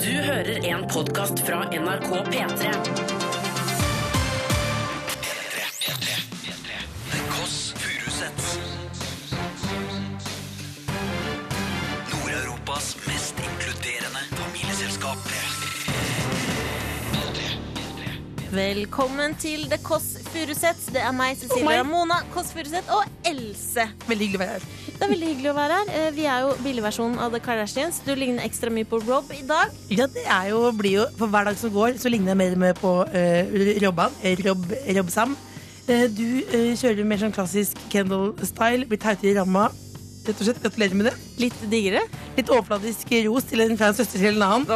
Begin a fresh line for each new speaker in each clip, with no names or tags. Du hører en podkast fra NRK P3.
The Koss Furusets Nord-Europas mest inkluderende familieselskap
Velkommen til The Kåss Furuseths. Det er meg, Cecilie Ramona Kåss Furuseth og Else.
Veldig hyggelig å være her.
Det er veldig hyggelig å være her. Eh, Vi er jo billigversjonen av The Kardashians. Du ligner ekstra mye på Rob i dag.
Ja, det er jo, blir jo, for hver dag som går, så ligner jeg mer og mer på eh, Robban. eh, Rob, Rob Sam. Eh, du eh, kjører mer sånn klassisk Kendal-style. Blir tautere i ramma. Rett og slett, Gratulerer med det.
Litt diggere.
Litt overfladisk ros til en fra en søster til en annen.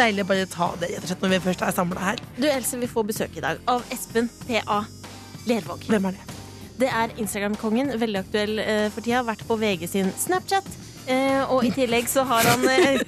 Deilig å bare ta det rett og slett når vi først er samla her.
Du, Else, vi får besøk i dag av Espen P.A. Lervåg.
Hvem er det?
Det er Instagram-kongen, veldig aktuell eh, for tida. Vært på VG sin Snapchat. Eh, og i tillegg så har han eh,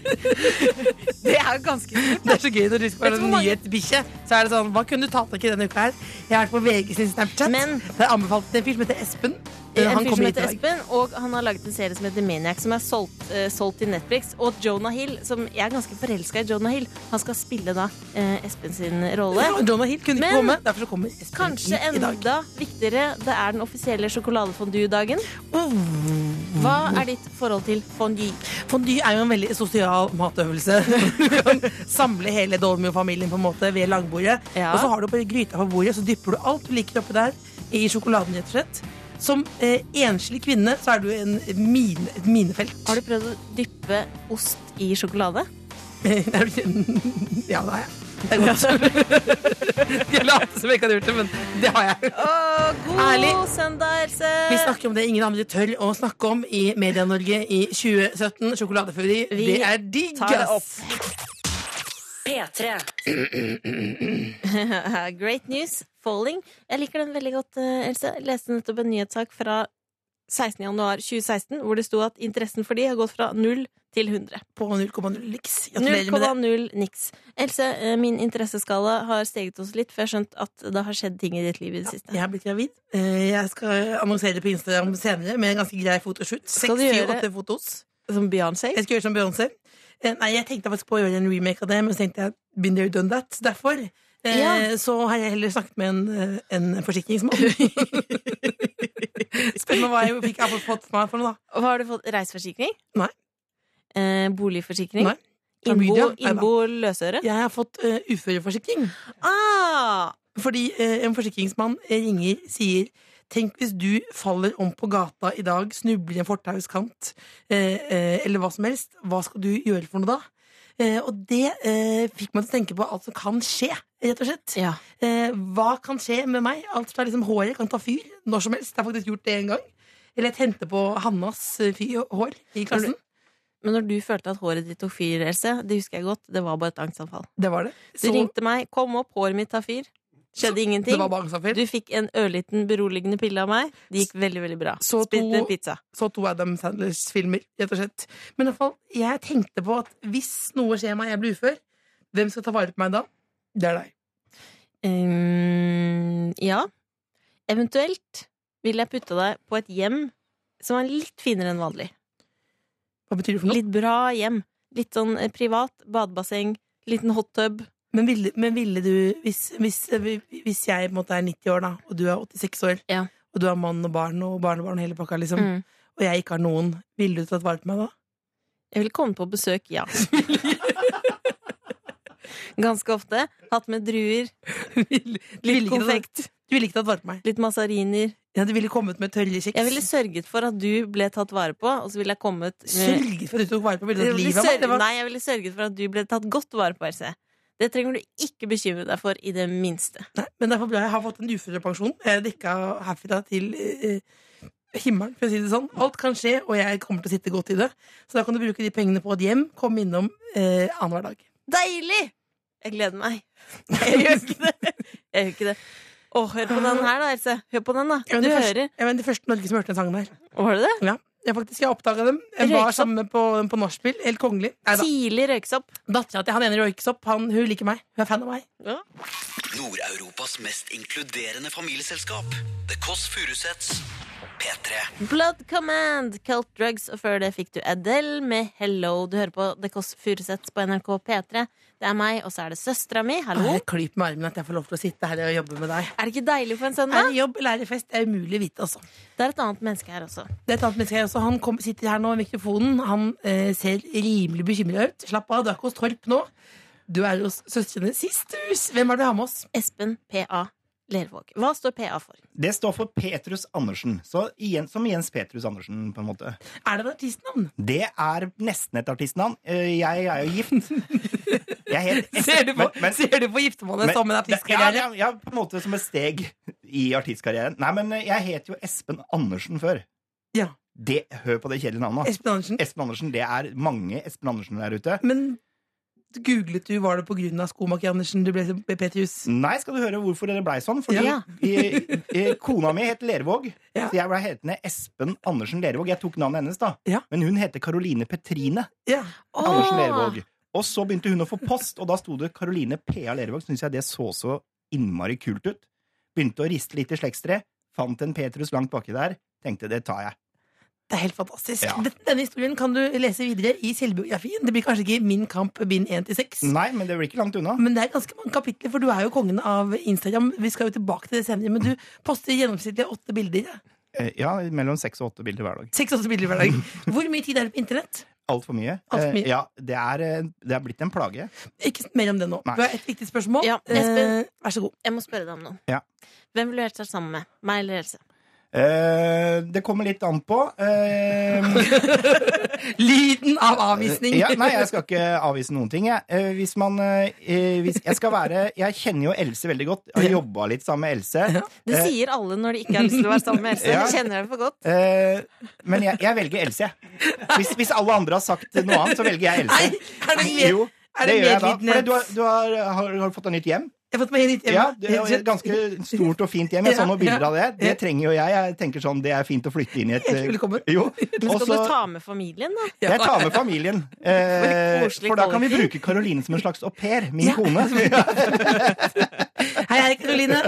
Det er jo ganske kult.
Det er så gøy når du skal
Vet
være
du hvor
en
mange-
nyhetsbikkje. Så er det sånn, hva kunne du tatt tak i denne uka her? Jeg har vært på VG sin Snapchat.
Men-
det er anbefalt til en fyr som heter Espen. Eh,
En
han
fyr som
kommer hit i
heter
dag.
Espen, og han har laget en serie som heter Maniac, som er solgt, eh, solgt til Netflix. Og Jonah Hill, som jeg er ganske forelska i, Jonah Hill, han skal spille da eh, Espen sin rolle.
Jonah Hill kunne
Men-
ikke komme, derfor så kommer Espen
Kanskje
hit i dag.
enda viktigere, det er den offisielle sjokoladefondue-dagen.
Oh.
Hva
Mm.
er ditt forhold til fondue?
Fondue er jo en veldig sosial matøvelse. Du kan samle hele Dolmio-familien på en måte ved langbordet.
Ja.
Og så har du bare gryta på bordet, så dypper du alt du liker oppi der i sjokoladen. rett og slett. Som eh, enslig kvinne så er du en mine, et minefelt.
Har du prøvd å dyppe ost i sjokolade?
Er du ikke- ja, det har jeg. Det er godt. Jeg later som jeg ikke hadde gjort det, men det har jeg.
god
Ærlig.
søndag, Else!
Vi snakker om det ingen andre tør å snakke om i Media-Norge i 2017. Sjokoladefury,
Vi
det er digg,
tar det
ass!
P3.
Eh, Great news, falling. Jeg liker den veldig godt, eh, Else. Jeg leste nettopp en nyhetssak fra 16. januar 2016, hvor det sto at interessen for de har gått fra 0 til 100.
På 0,0 liks. Gratulerer med
0,0
det.
niks. Else, eh, min interesseskala har steget oss litt, for jeg har skjønt at det har skjedd ting i ditt liv i det siste.
Jeg er blitt gravid. Eh, Jeg skal annonsere det på Instagram senere med en ganske grei fotoshoot.
Skal du gjøre-
6-7-8 fotos.
Som Beyoncé?
Jeg skal gjøre som Beyoncé. Eh, Nei, jeg tenkte faktisk på å gjøre en remake av det, men så tenkte jeg been there, done that. Derfor eh,
Ja.
så har jeg heller snakket med en, eh, en forsikringsmann. Spør meg hva jeg fikk jeg har fått meg for noe, da.
Og Har du fått reiseforsikring?
Nei.
Eh, boligforsikring?
Nei.
Innbo,
Klamydia? Nei da.
innbo løsøre?
Jeg har fått eh, uføreforsikring.
Ah!
Fordi eh, en forsikringsmann ringer, sier Tenk hvis du faller om på gata i dag, snubler i en fortauskant, eh, eh, eller hva som helst. Hva skal du gjøre for noe da? Eh, og det eh, fikk meg til å tenke på alt som kan skje, rett og slett.
Ja.
Eh, hva kan skje med meg? Alt fra liksom håret kan ta fyr når som helst. Jeg har faktisk gjort det en gang. Eller jeg tente på Hannas eh, fyr, hår i klassen.
Men når du følte at håret ditt tok fyr, Else, det husker jeg godt, det var bare et angstanfall.
Det var det.
Du
Så,
ringte meg, kom opp, håret mitt tar fyr. Skjedde
det
ingenting.
var bare angstanfall.
Du fikk en ørliten beroligende pille av meg. Det gikk veldig, veldig bra.
Så to-
Spiste en pizza.
så to Adam Sandlers filmer, rett og slett. Men i hvert fall, jeg tenkte på at hvis noe skjer meg, jeg blir ufør, hvem skal ta vare på meg da? Det er deg.
Um, ja. Eventuelt vil jeg putte deg på et hjem som er litt finere enn vanlig.
Hva betyr det for noe?
Litt bra hjem. Litt sånn eh, privat. Badebasseng. Liten hot tub.
Men ville, men ville du, hvis, hvis, hvis jeg på en måte er 90 år da, og du er 86 år,
Ja.
og du har mann og barn og barnebarn og hele pakka, liksom,
Mm.
og jeg ikke har noen, ville du tatt vare på meg da?
Jeg vil komme på besøk, ja. Ganske ofte. Hatt med druer,
Du ville- du ville
litt
ikke tatt-
konfekt,
Du ville ikke tatt vare på meg.
litt mazariner.
Ja, du ville kommet med tørre kjeks.
Jeg ville sørget for at du ble tatt vare på, og så ville jeg kommet med-
sørget for at du tok vare på ville
Jeg
tatt
ville
livet av meg.
sørget-
Det var-
Nei, jeg ville sørget for at du ble tatt godt vare på, Else. Det trenger du ikke bekymre deg for i det minste.
Nei, men derfor bra jeg har fått en uførepensjon. Jeg er dekka herfra til eh, himmelen, for å si det sånn. Alt kan skje, og jeg kommer til å sitte godt i det. Så da kan du bruke de pengene på et hjem. Kom innom eh, annenhver dag.
Deilig! Jeg gleder meg. Nei, jeg gjør ikke det. Jeg gjør ikke det. Å, hør på den her, da, Else. Hør på den, da.
Jeg
Du
var det
hører.
første, jeg var det første i Norge som hørte den sangen her.
Var det det?
Ja, jeg faktisk, jeg oppdaga dem. Jeg var
Røyksopp.
sammen med på, på nachspiel. Helt kongelig. Nei da.
Tidlig røyksopp.
Dattera til han ene røykes opp. Han, hun liker meg. Hun er fan av meg.
Ja.
Nord-Europas mest inkluderende familieselskap. The Kåss Furuseths. P3.
Blood Command, Cult Drugs, og før det fikk du Adele med Hello. Du hører på The Kåss Furuseths på NRK P3. Det er meg, og så er det søstera mi. Hallo.
Jeg klyper med armen at jeg får lov til å sitte her og jobbe med deg.
Er det ikke deilig på en
Er
søndag?
det jobb eller er det fest? Det er umulig å vite, altså.
Det er et annet menneske her også.
Det er et annet menneske her også. Han kom, sitter her nå med mikrofonen. Han eh, ser rimelig bekymra ut. Slapp av, du er ikke hos Torp nå. Du er hos søstrene Sisters. Hvem er det vi har med oss?
Espen PA Lervåg. Hva står PA for?
Det står for Petrus Andersen. Så igjen, som Jens Petrus Andersen, på en måte.
Er det et artistnavn?
Det er nesten et artistnavn. Eh, Jeg er jo gift. Jeg er helt
Ser du på,
Men- men-
ser du på giftermålet
men-
som en artistkarriere?
Ja, ja, ja, på en måte som et steg i artistkarrieren. Nei, men eh, jeg het jo Espen Andersen før.
Ja.
Det, hør på det kjedelige navnet. da.
Espen Andersen.
Espen Andersen, det er mange Espen Andersen der ute.
Men googlet du, var det på grunn av skomaker Andersen du ble Petrus?
Nei, skal du høre hvorfor dere blei sånn? Fordi
Ja.
eh, eh, kona mi het Lervåg,
Ja.
så jeg blei hetende Espen Andersen Lervåg. Jeg tok navnet hennes, da.
Ja.
Men hun heter Karoline Petrine
Ja.
Åh!
Andersen Lervåg. Og så begynte hun å få post, og da sto det Karoline P.A. Lervåg. Syns jeg det så så innmari kult ut. Begynte å riste litt i slektstreet. Fant en Petrus langt baki der. Tenkte det tar jeg.
Det er helt fantastisk.
Ja.
Dette- Denne historien kan du lese videre i selvbiografien. Det blir kanskje ikke Min kamp bind 1-6.
Nei, men det blir ikke langt unna.
Men det er ganske mange kapitler, for du er jo kongen av Instagram. Vi skal jo tilbake til det senere, men du poster gjennomsnittlig åtte bilder. ja.
Eh, Ja, mellom seks og åtte bilder hver dag.
Seks-åtte bilder hver dag. Hvor mye tid er det på internett?
Altfor mye.
Alt for mye.
Eh, Ja, det er, eh, det er blitt en plage.
Ikke mer om det nå.
Nei.
Du har et viktig spørsmål.
Ja,
eh,
Espen.
vær så god.
Jeg må spørre deg om noe.
Ja.
Hvem ville du vært sammen med? Meg eller Else?
Eh, det kommer litt an på. Eh,
Lyden av avvisning!
ja, nei, jeg skal ikke avvise noen ting. Jeg. Eh, hvis man, eh, hvis jeg, skal være, jeg kjenner jo Else veldig godt. Jeg har jobba litt sammen med Else.
Det
Eh.
sier alle når de ikke har lyst til å være sammen med Else.
Ja.
Jeg kjenner det for godt.
Eh, men jeg, jeg velger Else. jeg. Hvis, hvis alle andre har sagt noe annet, så velger jeg
Nei,
Else.
er det mer,
Jo,
er
det
det
gjør jeg da.
medlidenhet?
For du, har, du har, har, har du fått deg nytt hjem.
Jeg har fått meg litt
Ja, det er et ganske stort og fint hjem. Jeg så
Ja,
noen bilder
ja.
av det. Det trenger jo jeg. Jeg tenker sånn, Det er fint å flytte inn i et eh,
Hjertelig velkommen.
Jo.
Men skal
Også-
du ta med familien, da?
Jeg tar med familien. Eh,
koselig
for da kan vi
kollektiv.
bruke Karoline som en slags au pair. Min
Ja.
kone.
Hei, hei, Karoline.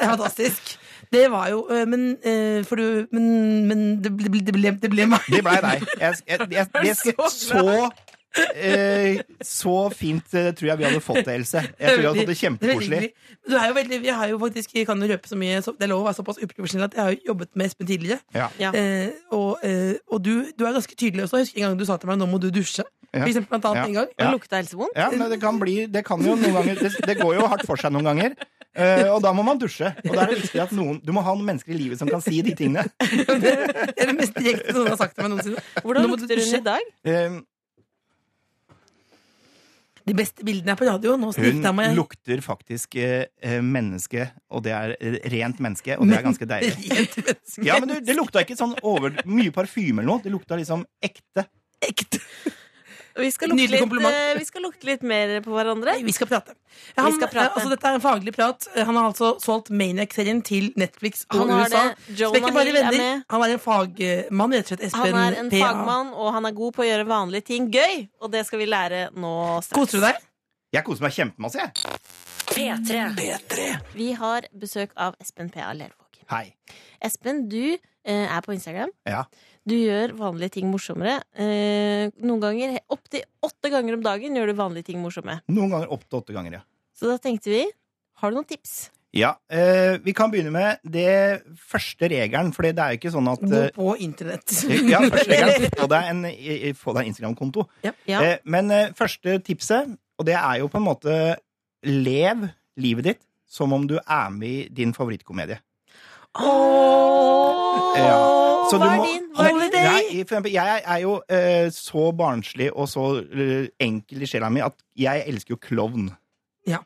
Fantastisk. Det var jo eh, Men, eh, for du, men, men det, ble, det, ble, det ble meg.
Det blei deg. Jeg, jeg, jeg, det skal, så eh, Så fint eh, tror jeg vi hadde fått det, Else. Jeg tror vi hadde fått det
er veldig
kjempekoselig.
hyggelig. Du er jo veldig, vi har jo faktisk, jeg kan jo røpe så mye, så, det er lov å være såpass uprofesjonell at jeg har jo jobbet med Espen tidligere.
Ja.
Ja.
Eh, og eh, og du, du er ganske tydelig også. Jeg husker en gang du sa til meg 'nå må du dusje'.
Ja.
For eksempel, blant annet
Ja.
en gang.
Ja.
Lukta Else vondt?
ja, men det kan bli Det kan jo noen ganger Det, det går jo hardt for seg noen ganger. Eh, og da må man dusje. Og da er det viktig at noen Du må ha noen mennesker i livet som kan si de tingene.
Det er det mest direkte noen har sagt til meg noensinne. Nå
Hvordan
må du
lukter hun
dusje.
i dag?
Eh,
De beste bildene er på radio. Nå
hun
snikta meg.
lukter faktisk eh, eh, menneske, og det er eh, rent menneske, og det er ganske deilig.
Rent menneske.
Ja, men du, Det lukta ikke sånn over, mye parfyme eller noe. Det lukta liksom ekte.
Ekte.
Vi skal lukte
Nydelig
litt,
kompliment.
eh, vi skal lukte litt mer på hverandre.
Nei, vi skal prate. Han,
skal prate.
eh, Altså, dette er en faglig prat. Han har altså solgt Maniac-serien til Netflix og
Han har
USA.
det. Jonah
Spekker bare
Hill er
venner.
med.
Han er en fagmann, rett og slett. Espen
Han er en
PA.
fagmann, og han er god på å gjøre vanlige ting gøy. Og det skal vi lære nå straks.
Koser du deg?
Jeg koser meg kjempemasse, jeg.
P3.
Vi har besøk av Espen P.A. Lervåg.
Hei.
Espen, du eh, er på Instagram.
Ja.
Du gjør vanlige ting morsommere. Eh, noen ganger, Opptil åtte ganger om dagen gjør du vanlige ting morsomme.
Noen ganger opp til åtte ganger, ja.
Så da tenkte vi har du noen tips?
Ja, eh, Vi kan begynne med det første regelen, for det er jo ikke sånn at
Gå
eh,
på internett.
ja, første regelen, få deg en, eh, få deg en Instagram-konto.
Ja.
Eh, men eh, første tipset, og det er jo på en måte lev livet ditt som om du er med i din favorittkomedie.
Åh,
Ja. Så
Hva
du
er
må-
din? Hva er din?
Nei, for eksempel, jeg er jo eh, så barnslig og så eh, enkel i sjela mi at jeg elsker jo klovn.
Ja.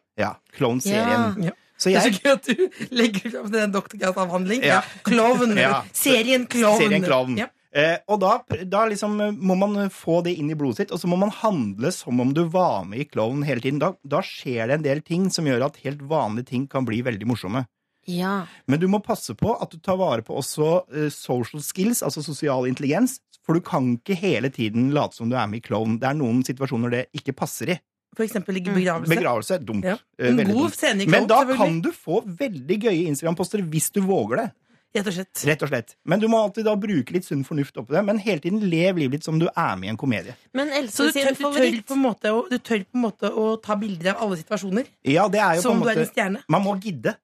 Klovnserien.
Ja.
Så
Det er
jeg
så gøy at du legger fram den doktorgradsavhandling. Ja.
Ja.
Klovn.
Ja.
Serien Klovn.
serien Klovn.
Ja.
Eh, og da, pr- da liksom eh, må man få det inn i blodet sitt, og så må man handle som om du var med i Klovn hele tiden. Da, da skjer det en del ting som gjør at helt vanlige ting kan bli veldig morsomme.
Ja.
Men du må passe på at du tar vare på også eh, social skills, altså sosial intelligens. For du kan ikke hele tiden late som du er med i Klovn. Det er noen situasjoner det ikke passer i.
For eksempel ligge i
Mm.
begravelse.
Begravelse er dumt.
Ja.
Eh,
En
veldig
god
dumt.
scene i
Men
Coke,
da
selvfølgelig.
kan du få veldig gøye Instagram-poster hvis du våger det.
Rett og slett.
rett og slett. Men du må alltid da bruke litt sunn fornuft oppi det, men hele tiden lev livet ditt som du er med i en komedie.
Men
Så
Else
du tør,
sin
du, tør
favoritt
på en måte å, du tør på en måte å ta bilder av alle situasjoner?
Ja, det er jo på
Som
en
om du er
måte
en stjerne?
Man må gidde.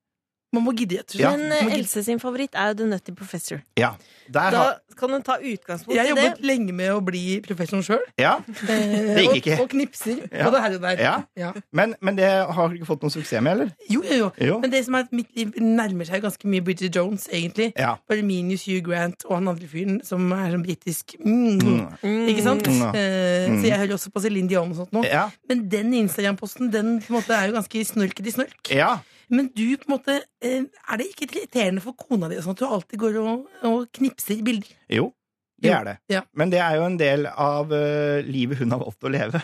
Man må gidde, rett og
Ja.
slett.
Men
Man må
eh,
gidde.
Else sin favoritt er jo The Nutty Professor.
Ja. Der
Da
har
kan hun ta utgangspunkt
Jeg har
i det.
jobbet lenge med å bli professoren sjøl.
Ja. Det gikk
Og,
ikke.
og knipser.
Ja.
Både her og der.
Ja.
Ja.
Men, men det har du ikke fått noen suksess med, eller?
Jo, jo, jo.
Jo.
Men det som er at mitt liv nærmer seg ganske mye Bridget Jones, egentlig.
Ja.
Bare minus Hugh Grant og han andre fyren som er sånn britisk. Mm. Ikke sant?
Mm.
Eh, Så jeg hører også på Celine Dion og sånt nå.
Ja.
Men den Instagram-posten den på en måte er jo ganske snorkete i snork.
ja.
Men du, på en måte, eh, er det ikke irriterende for kona di og sånn at du alltid går og, og knipser i bilder?
Jo. Det er det.
Ja.
Men det er jo en del av eh, livet hun har valgt å leve.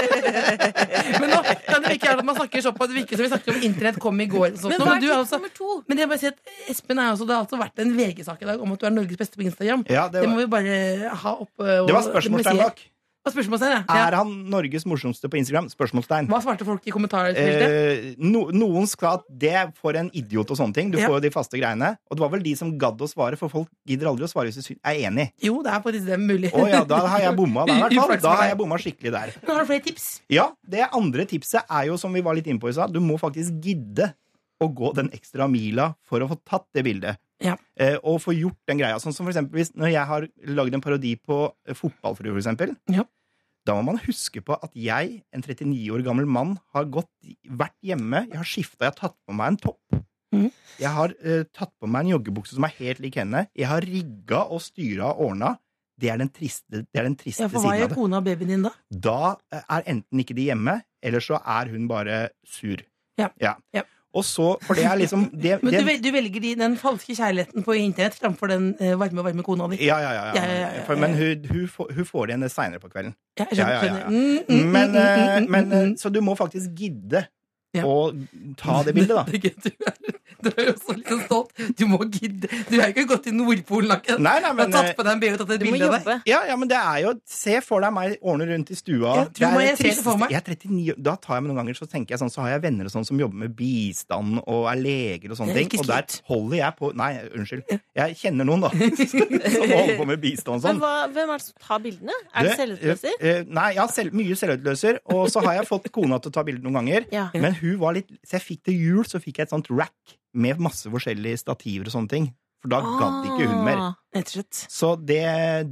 Men nå kan det virke her at man snakker såpass det virker som vi snakket om internett kom i går. og Sånt,
Men
nå,
hva
men,
er
du er
tips
også,
nummer to?
men jeg bare sier at Espen er også, det har altså vært en VG-sak i dag om at du er Norges beste på Instagram.
Ja,
Det,
det,
må
var,
vi bare ha oppe. og-
det var
det
spørsmålstegn
må vi si.
bak.
Det var spørsmålstegn, ja.
Er
ja.
han Norges morsomste på Instagram? Spørsmålstegn.
Hva svarte folk i kommentarfeltet?
Eh, no, noen skal at det for en idiot og sånne ting. Du
Ja.
får jo de faste greiene. Og det var vel de som gadd å svare, for folk gidder aldri å svare hvis de sy- er enig.
Jo, det er faktisk det mulig.
Å ja, da har jeg bomma der, i hvert fall.
Uflaks for
Da har
deg.
jeg bomma skikkelig der.
Men Har du flere tips?
Ja, det andre tipset er jo, som vi var litt inne på i stad, du må faktisk gidde å gå den ekstra mila for å få tatt det bildet.
Ja.
Eh, og få gjort den greia. Sånn som for eksempel hvis når jeg har lagd en parodi på eh, fotballfrue, for eksempel.
Ja.
Da må man huske på at jeg, en 39 år gammel mann, har gått, vært hjemme, jeg har skifta, jeg har tatt på meg en topp.
Mhm.
Jeg har eh, tatt på meg en joggebukse som er helt lik henne. Jeg har rigga og styra og ordna. Det er den triste, det er den triste
Ja, for
siden
hva
av det
gjør kona og babyen din da?
da eh, er enten ikke de hjemme, eller så er hun bare sur.
Ja. Ja.
Og så, for det er liksom det,
Men
det,
du, vel- du velger de, den falske kjærligheten på internett framfor den eh, varme, varme kona di.
ja, ja, ja, ja.
Ja, ja, ja, ja.
For, men hun, hun, får, hun får det igjen seinere på kvelden.
Ja, jeg skjønner,
Ja, ja, ja,
skjønner.
ja.
Mm, mm, mm,
Men,
mm, mm,
eh,
mm,
men, eh,
mm.
så du må faktisk gidde
Ja.
å ta det bildet, da.
Det er gøy at Du er, du er jo så litt sånn stolt. Du må gidde. Du er jo ikke gått til Nordpolen naken.
Nei, nei,
Du har
men
tatt
eh,
på deg en BH og tatt et
Du må
bilde av deg.
jobbe.
ja, ja, men det er jo Se for deg meg ordne rundt i stua.
Ja, tror meg, jeg
det
ser det for
tristeste-
meg.
Jeg er 39, år. da tar jeg meg noen ganger Så tenker jeg sånn, så har jeg venner og sånn som jobber med bistand og er leger og sånne
Det er
ting.
ikke
Og der
slutt.
holder jeg på Nei, unnskyld. Jeg kjenner noen, da, som holder på med bistand og sånn.
Men hva, hvem er det som tar bildene? Er det selvutløser?
eh, eh, Nei, jeg har selv, mye selvutløser. Og så har jeg fått kona til å ta bilder noen ganger.
Ja.
Men hun var litt Så jeg fikk til jul så fikk jeg et sånt rack med masse forskjellige stativer og sånne ting. For da gadd ikke hun mer.
Ah.
Rett og slett.
Så det,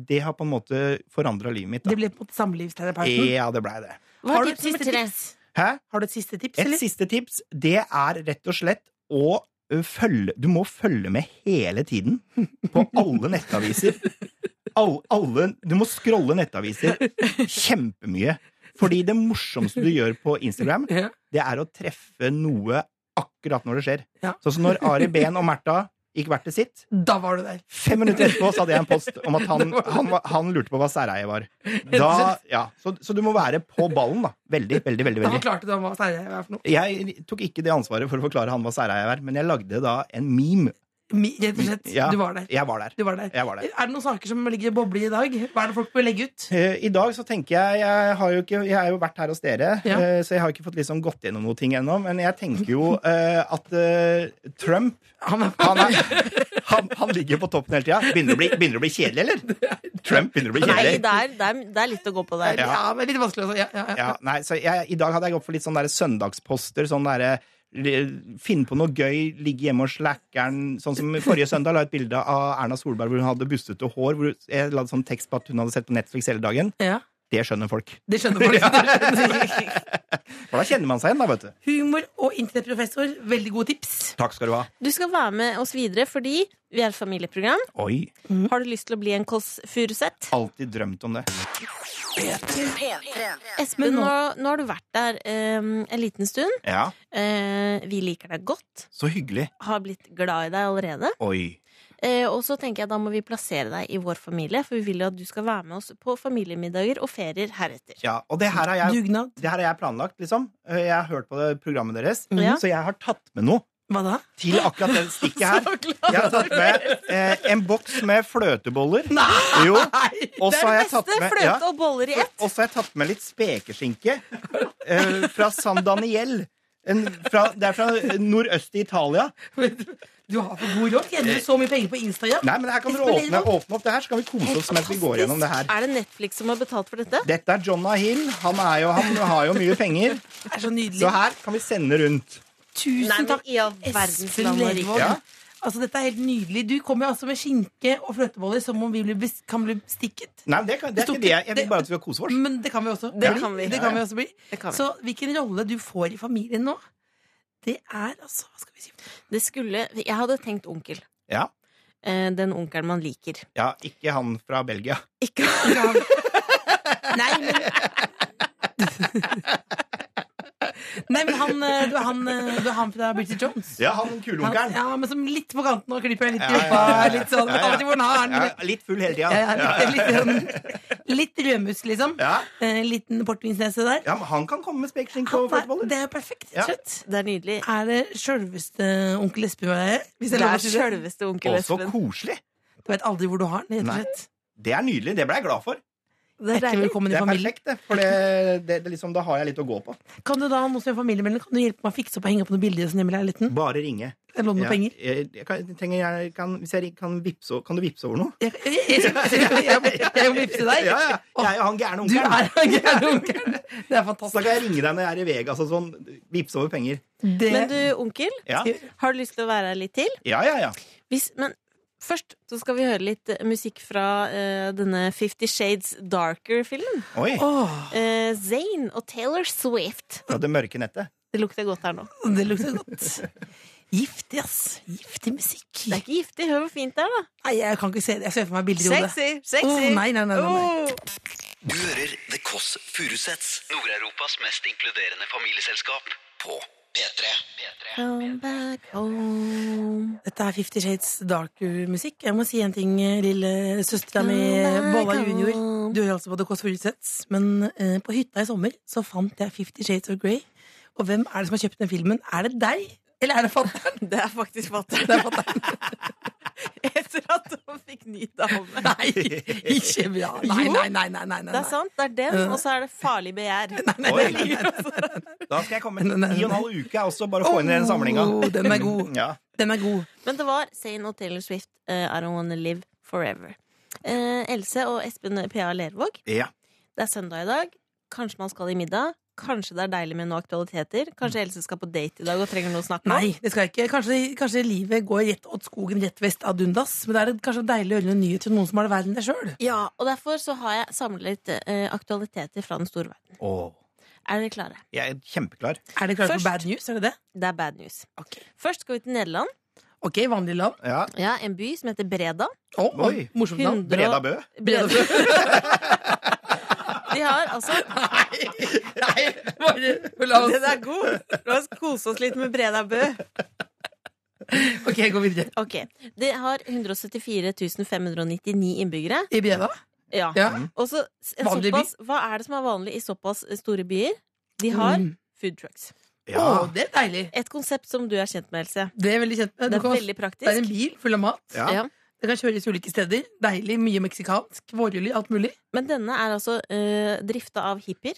det har på en måte forandra livet mitt.
Det
Da.
ble på en måte samlivsterapeuten.
Ja, det blei det.
Hva er
Har du
ditt
et siste
nummer tre?
tips?
Hæ?
Har du et siste tips,
Et
eller?
siste tips, det er rett og slett å ø, følge Du må følge med hele tiden på alle nettaviser. All, alle, du må scrolle nettaviser kjempemye. Fordi det morsomste du gjør på Instagram,
Ja.
det er å treffe noe akkurat når det skjer.
Ja.
Sånn som når Ari Behn og Märtha gikk hvert til sitt.
Da var du der.
Fem minutter etterpå så hadde jeg en post om at han, han, var- han lurte på hva særeie var. Da, ja, så, så du må være på ballen, da. Veldig, veldig, veldig.
Da
veldig.
forklarte du ham hva særeie er for noe.
Jeg tok ikke det ansvaret for å forklare han hva særeie er, men jeg lagde da en meme.
Mi- Rett og slett.
Ja.
Du var der.
Jeg var der.
Du var der.
Jeg var der.
Er det noen saker som ligger i bobler i dag? Hva er det folk bør legge ut?
Eh, I dag så tenker jeg Jeg har jo, ikke, jeg har jo vært her hos dere,
Ja.
eh, så jeg har ikke fått liksom gått gjennom noe ting ennå. Men jeg tenker jo eh, at eh, Trump
Han er
han, er, han, han ligger på toppen hele tida. Begynner, det å bli- begynner det å bli kjedelig, eller? Trump begynner å bli
Nei,
kjedelig.
det er, det, er, det er litt å gå på der.
ja. men litt vanskelig også. Ja, ja, ja.
Ja, nei, så jeg, I dag hadde jeg gått for litt sånn der søndagsposter. Sånn derre Finne på noe gøy, ligge hjemme og slacker'n. Sånn som forrige søndag la jeg et bilde av Erna Solberg hvor hun hadde bustete hår. Hvor jeg la sånn tekst på at hun hadde sett på Netflix hele dagen.
Ja.
Det skjønner folk.
Det skjønner folk. Det skjønner folk.
For da kjenner man seg igjen, da, vet du.
Humor og internettprofessor, veldig gode tips.
Takk skal du ha.
Du skal være med oss videre fordi vi er et familieprogram.
Oi.
Har du lyst til å bli en Kåss Furuseth?
Alltid drømt om det.
Espen,
Men
nå,
nå-
nå har du vært der eh, en liten stund.
Ja,
Eh, vi liker deg godt.
så hyggelig.
Har blitt glad i deg allerede.
Oi.
Eh, og så tenker jeg da må vi plassere deg i vår familie, for vi vil jo at du skal være med oss på familiemiddager og ferier heretter.
Ja, og det her har jeg,
Dugnad.
det her har jeg planlagt, liksom. Jeg har hørt på det programmet deres,
Ja.
så jeg har tatt med noe.
Hva da?
til akkurat det stikket her. Jeg har tatt med eh, en boks med fløteboller. Jo. Og
Det er
så har
det
jeg tatt
beste!
med ja.
Fløte og boller i ett.
Og så har jeg tatt med litt spekeskinke eh, fra San Daniel. En, fra, det er fra eh, nordøst i Italia.
Du har for god råd. Tjener du så mye penger på Instagram?
Nei, men her kan dere åpne, åpne opp det her, så kan vi kose oss mens vi går gjennom det her.
Er det Netflix som har betalt for dette?
Dette er John Hill. Han, er jo, han har jo mye penger.
Det er så nydelig.
Så her kan vi sende rundt.
Tusen
Nei, men
takk,
i all verdens
Espen
land og rike.
Lervold.
Ja.
Altså, dette er helt nydelig. Du kommer jo altså med skinke og fløteboller som om vi blir bes- kan bli stikket.
Nei, men det, kan, det er ikke det. Jeg- Jeg vil bare at vi skal kose oss.
Men det kan vi også.
Det
bli.
kan vi.
Det kan vi også bli.
Det kan vi.
Så hvilken rolle du får i familien nå, det er altså Hva skal vi si?
Det skulle Jeg hadde tenkt onkel.
Ja.
Eh, den onkelen man liker.
ja, ikke han fra Belgia.
Ikke
Nei, men Nei, men han, eh, du, er han, eh, du er han fra Britney Jones.
Ja, han
Han,
kuleonkelen.
ja, men som litt på kanten og klipper deg litt i
Ja, ja, ja, ja.
rumpa. Litt sånn, vet
Ja, ja.
aldri hvor han har den.
Ja, litt full hele
Ja, ja, litt,
tida.
litt, sånn, litt rødmus, liksom.
Ja.
Eh, liten portvinsnese der.
Ja, men han kan komme med spekeskinke
Han
og
er,
fløteboller.
det er jo perfekt.
Ja.
Slutt.
Det er nydelig.
Er det sjølveste onkel Espen du er?
Det
Hvis jeg lover å
er
si det.
sjølveste onkel
Og så
Espen.
koselig.
Du vet aldri hvor du har den, rett
Nei.
og slett.
Det er nydelig. Det ble jeg glad for.
Det er
Hjertelig
deilig.
velkommen
Det
i
er
familien.
perfekt, det. For det, det, det liksom, da har jeg litt å gå på.
Kan du da, nå som jeg er familiemedlem, kan du hjelpe meg å fikse opp og henge opp noen bilder som hjemme i leiligheten?
Bare ringe.
Jeg låner noen
Ja,
penger.
jeg, jeg kan, jeg trenger, jeg kan, hvis jeg kan vippse o- Kan du vippse over noe?
Jeg, jeg, jeg, jeg, jeg, jeg må vippse deg.
Ja, ja. Jeg er jo han gærne
Du
onkelen.
er den gærne onkelen. Det er
Så da
fantastisk.
kan jeg ringe deg når jeg er i Vegas og sånn. Vippse over penger.
Det,
Men du, onkel,
Ja,
har du lyst til å være her litt til?
ja, ja. ja.
Hvis, men først så skal vi høre litt eh, musikk fra eh, denne Fifty Shades Darker-filmen.
Oi.
Åh,
Eh, Zayn og Taylor Swift.
Fra det mørke nettet.
Det lukter godt her nå.
det lukter godt. Giftig, ass. Giftig musikk.
Det er ikke giftig. Hør hvor fint det er, da.
Nei, jeg kan ikke se det. Jeg ser for meg bilder i hodet.
Sexy! Sexy!
Åh, nei, nei, nei, nei, nei.
Åh.
Du hører The Kåss Furuseths, Nord-Europas mest inkluderende familieselskap, på P3.
Come back home.
Dette er Fifty Shades Darker-musikk. Jeg må si en ting, eh, lille søstera mi eh, Bolla junior. Du hører altså på The Kåss Furuseths, men eh, på hytta i sommer så fant jeg Fifty Shades of Grey. Og hvem er det som har kjøpt den filmen? Er det deg? Eller er det fatter'n?
Det er faktisk fatter'n.
Det er fatter'n.
Etter at hun fikk ny dame.
Nei, ikke bra. Nei,
Jo.
nei, nei. nei, nei,
Det
nei.
er sant. Det er den, og så er det farlig begjær.
Oi. Da skal jeg komme
Nei, nei, nei.
i og en halv uke jeg også, bare få inn i den samlinga.
Oh, den er god.
Ja.
Den er god.
Men det var Zayn og Taylor Swift, eh, I Don't Wanna Live Forever. Eh, Else og Espen P.A. Lervåg,
ja.
det er søndag i dag. Kanskje man skal i middag. Kanskje det er deilig med noen aktualiteter. Kanskje Else skal på date i dag og trenger noe å snakke om.
Nei, det skal jeg ikke. Kanskje, kanskje livet går rett åt skogen rett vest av dundas. Men det er kanskje deilig å høre noen nyheter om noen som har det verre enn deg sjøl.
Ja, og derfor så har jeg samlet eh, aktualiteter fra den store verden.
Åh,
Er dere klare?
jeg er kjempeklar.
Er det klart
Først-
for bad news? Er det det?
Det er bad news.
Ok,
Først skal vi til Nederland.
Ok, vanlig land.
Ja.
Ja, En by som heter Breda.
Å,
Oi.
morsomt navn.
Hundre
Breda
og-
Bø.
Breda. De har altså
Nei, bare la oss
Den er god! La oss kose oss litt med Breda Bø.
Ok, gå videre.
Ok, De har 174 599 innbyggere.
I Breda?
Ja.
Ja.
Og så s- en
Vanlig by.
såpass, Hva er det som er vanlig i såpass store byer? De har
Mm.
food trucks.
Ja.
Å, det er deilig.
Et konsept som du er kjent med, Else.
Det er veldig kjent. med. Du
Det er
kan-
veldig
det er en
praktisk.
bil full av mat.
Ja.
Ja.
Det kan kjøres ulike steder. Deilig, mye meksikansk, vårruller, alt mulig.
Men denne er altså uh, drifta av hippier,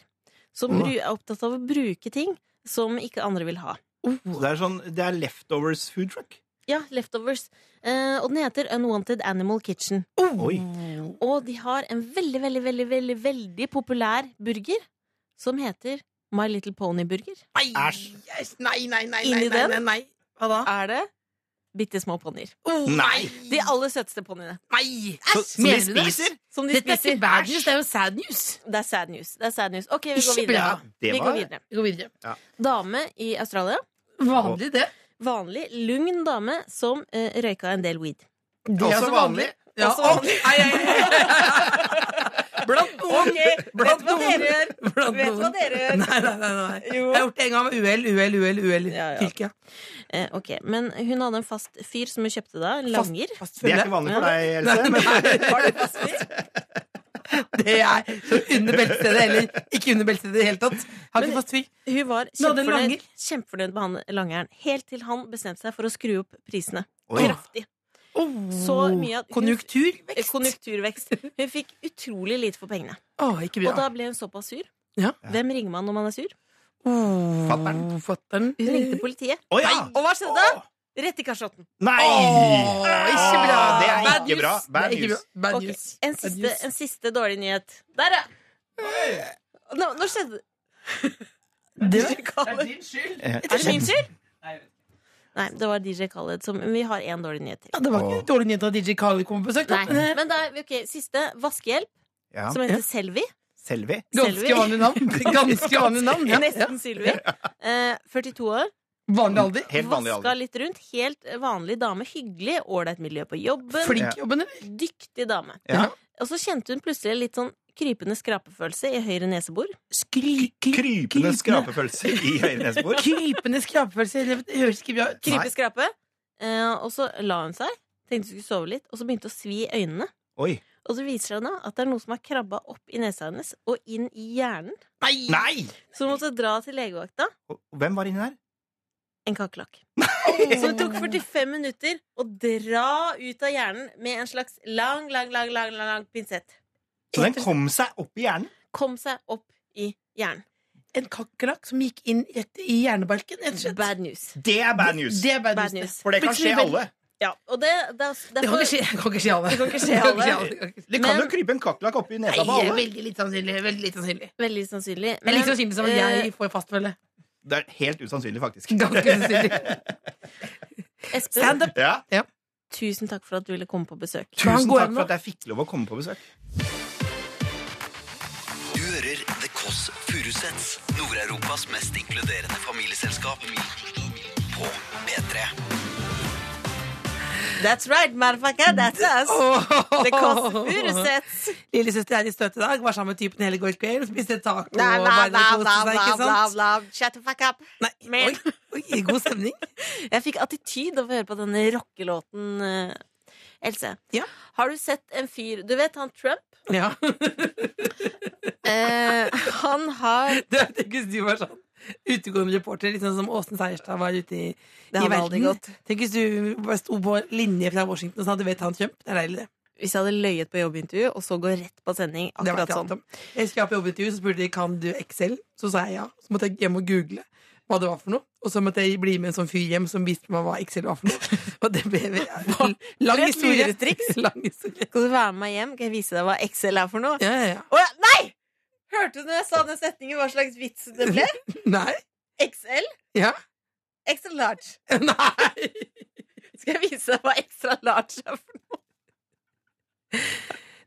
som
Åh.
bru- er opptatt av å bruke ting som ikke andre vil ha.
Så det er sånn Det er leftovers food truck.
Ja, leftovers. Eh, og den heter Unwanted Animal Kitchen.
Oh!
Oi.
Og de har en veldig, veldig, veldig, veldig, veldig populær burger som heter My Little Pony Burger.
Nei,
Æsj.
yes, nei, nei, nei,
Inni
nei, nei,
den?
nei, nei. Hva da?
Er det bitte små ponnier?
Oh,
Nei.
De aller søteste ponniene.
Nei!
Så,
Æsj!
så de
Mener du det?
spiser?
Som de
Dette er ikke
spiser.
bad news, det er jo sad news.
Det er sad news. Det er sad news. Ok, vi går
Ikke bra.
videre.
Det
Vi går
var
videre.
Vi går videre.
Dame i Australia.
Vanlig, det.
Vanlig, lugn dame som eh, røyka en del weed.
Det er altså
også vanlig.
Ja,
Også
og-
vanlig.
Nei, nei, nei.
Blant noen.
Blant
Vet hva
noen.
dere gjør.
Blant
Vet hva
noen.
dere gjør.
Nei, nei, nei, nei.
Jo.
Jeg har gjort det en gang med uhell, uhell, uhell. uhell.
Ja, ja.
Tyrkia.
Eh, ok, Men hun hadde en fast fyr som hun kjøpte da. en Langer.
Fast, fast
Det er
følge.
ikke vanlig for deg, Else. Men
Var det fast fyr?
Det er så under beltestedet, eller ikke under beltestedet i det hele tatt. Har
Men-
ikke fått tvi.
Hun var
Nå, den
kjempefornøyd,
langer.
kjempefornøyd med han langeren. Helt til han bestemte seg for å skru opp prisene.
Oi.
Kraftig. Så mye at hun- Eh,
Konjunkturvekst.
Konjunkturvekst. Hun fikk utrolig lite for pengene.
Å, ikke
Og
bra.
da ble hun såpass sur.
Ja.
Hvem ringer man når man er sur?
Oh,
Fatteren.
fatteren.
Hun ringte politiet.
Å ja!
Og hva skjedde? Rett i kasjotten.
Nei!
Åh, ikke bra.
Åh, Det er
Bad
ikke bra.
Det
Bad
er ikke bra.
news.
Bad
Ok,
news.
En, siste, en siste dårlig nyhet. Der, ja! Nå, nå skjedde DJ Khaled.
Eh,
Er det min skyld? Nei, det var DJ Khaled som Vi har én dårlig nyhet til.
Ja, det var ikke dårlig nyhet at DJ Khaled kom på besøk. da.
Nei. Men da, er vi- ok, Siste vaskehjelp,
Ja.
som heter Selvi.
Selvi.
Ganske
Selvi.
vanlig navn. Ganske vanlig navn, ja. ja.
Nesten Sylvi. Eh, 42 år.
Vanlig alder.
Helt vanlig
Vaska
alder.
litt rundt. Helt vanlig dame. Hyggelig. Ålreit miljø på jobben.
Flink jobben, eller?
Dyktig dame.
Ja.
Og så kjente hun plutselig litt sånn krypende skrapefølelse i høyre nesebor.
Skry, kry,
Krypende skrapefølelse i høyre nesebor.
Krypende skrapefølelse. Det høres ikke bra ut.
Nei.
Krype skrape. Eh, og så la hun seg. Tenkte hun skulle sove litt, og så begynte å svi i øynene.
Oi.
Og så viser det seg da at det er noe som har krabba opp i nesa hennes og inn i hjernen.
Nei!
Så hun måtte dra til legevakta.
Og- og Hvem var inni der?
En kakerlakk. Så det tok 45 minutter å dra ut av hjernen med en slags lang, lang, lang, lang, lang, lang pinsett.
Så den kom seg opp i hjernen?
Kom seg opp i hjernen.
En kakerlakk som gikk inn rett i hjernebarken. rett og slett.
Bad news.
Det er bad news.
Det er bad,
Bad
news.
news.
For det kan skje
Plutselig vel-
alle.
Ja, og det, det, er-
Det kan
derfor
ikke skje, det kan ikke skje alle.
Det kan ikke skje alle.
Det kan ikke skje alle.
Det kan
Men-
jo krype en kakerlakk oppi
Nei,
nesa på
det er
alle.
veldig litt sannsynlig. Veldig litt sannsynlig.
veldig sannsynlig.
Men like sannsynlig som at
eh,
jeg får fastfølge.
Det er helt usannsynlig, faktisk.
Ganske sannsynlig.
Espen,
Ja.
tusen takk for at du ville komme på besøk.
han
Tusen
gå
takk
hjem
for
nå?
at jeg fikk lov å komme på besøk.
Du hører The Kåss Furuseths, Nord-Europas mest inkluderende familieselskap. På P3.
That's right, motherfucker. That's us. Det koster eh, Furuseths.
Lillesøster er i støt i dag, var sammen med typen hele går kveld, spiste taco og
Bla, bla,
bare
bla,
koste
bla,
seg,
bla,
ikke
bla,
sant?
bla. Shut the fuck up.
Nei,
Men-
oi, oi, god stemning.
Jeg fikk attityd av å høre på denne rockelåten. eh, Else,
Ja.
har du sett en fyr Du vet han Trump?
Ja,
Eh, han har
det er tenk hvis du var sånn utegående reporter, litt sånn som Åsen Seierstad var ute i,
Det
i
hadde aldri
verden.
gått.
Tenk hvis du bare sto på linje fra Washington og sa du vet han Trump, det er deilig det.
Hvis jeg hadde løyet på jobbintervju og så gå rett på sending,
Det har
akkurat
vært
sånn.
sånn. Jeg skulle ha på jobbintervju, så spurte de kan du Excel. Så sa jeg ja. Så måtte jeg hjem og google hva det var for noe. Og så måtte jeg bli med en sånn fyr hjem som viste meg hva Excel var for noe. Og det ble lang
et
historie.
luretriks.
lang historie.
Skal du være med meg hjem? Kan jeg vise deg hva Excel er for noe?
Ja, ja, ja.
Å ja, nei! Hørte du når jeg sa den setningen, hva slags vits det ble?
Nei.
XL?
Ja.
Excel large.
Nei.
Skal jeg vise deg hva extra large er for noe?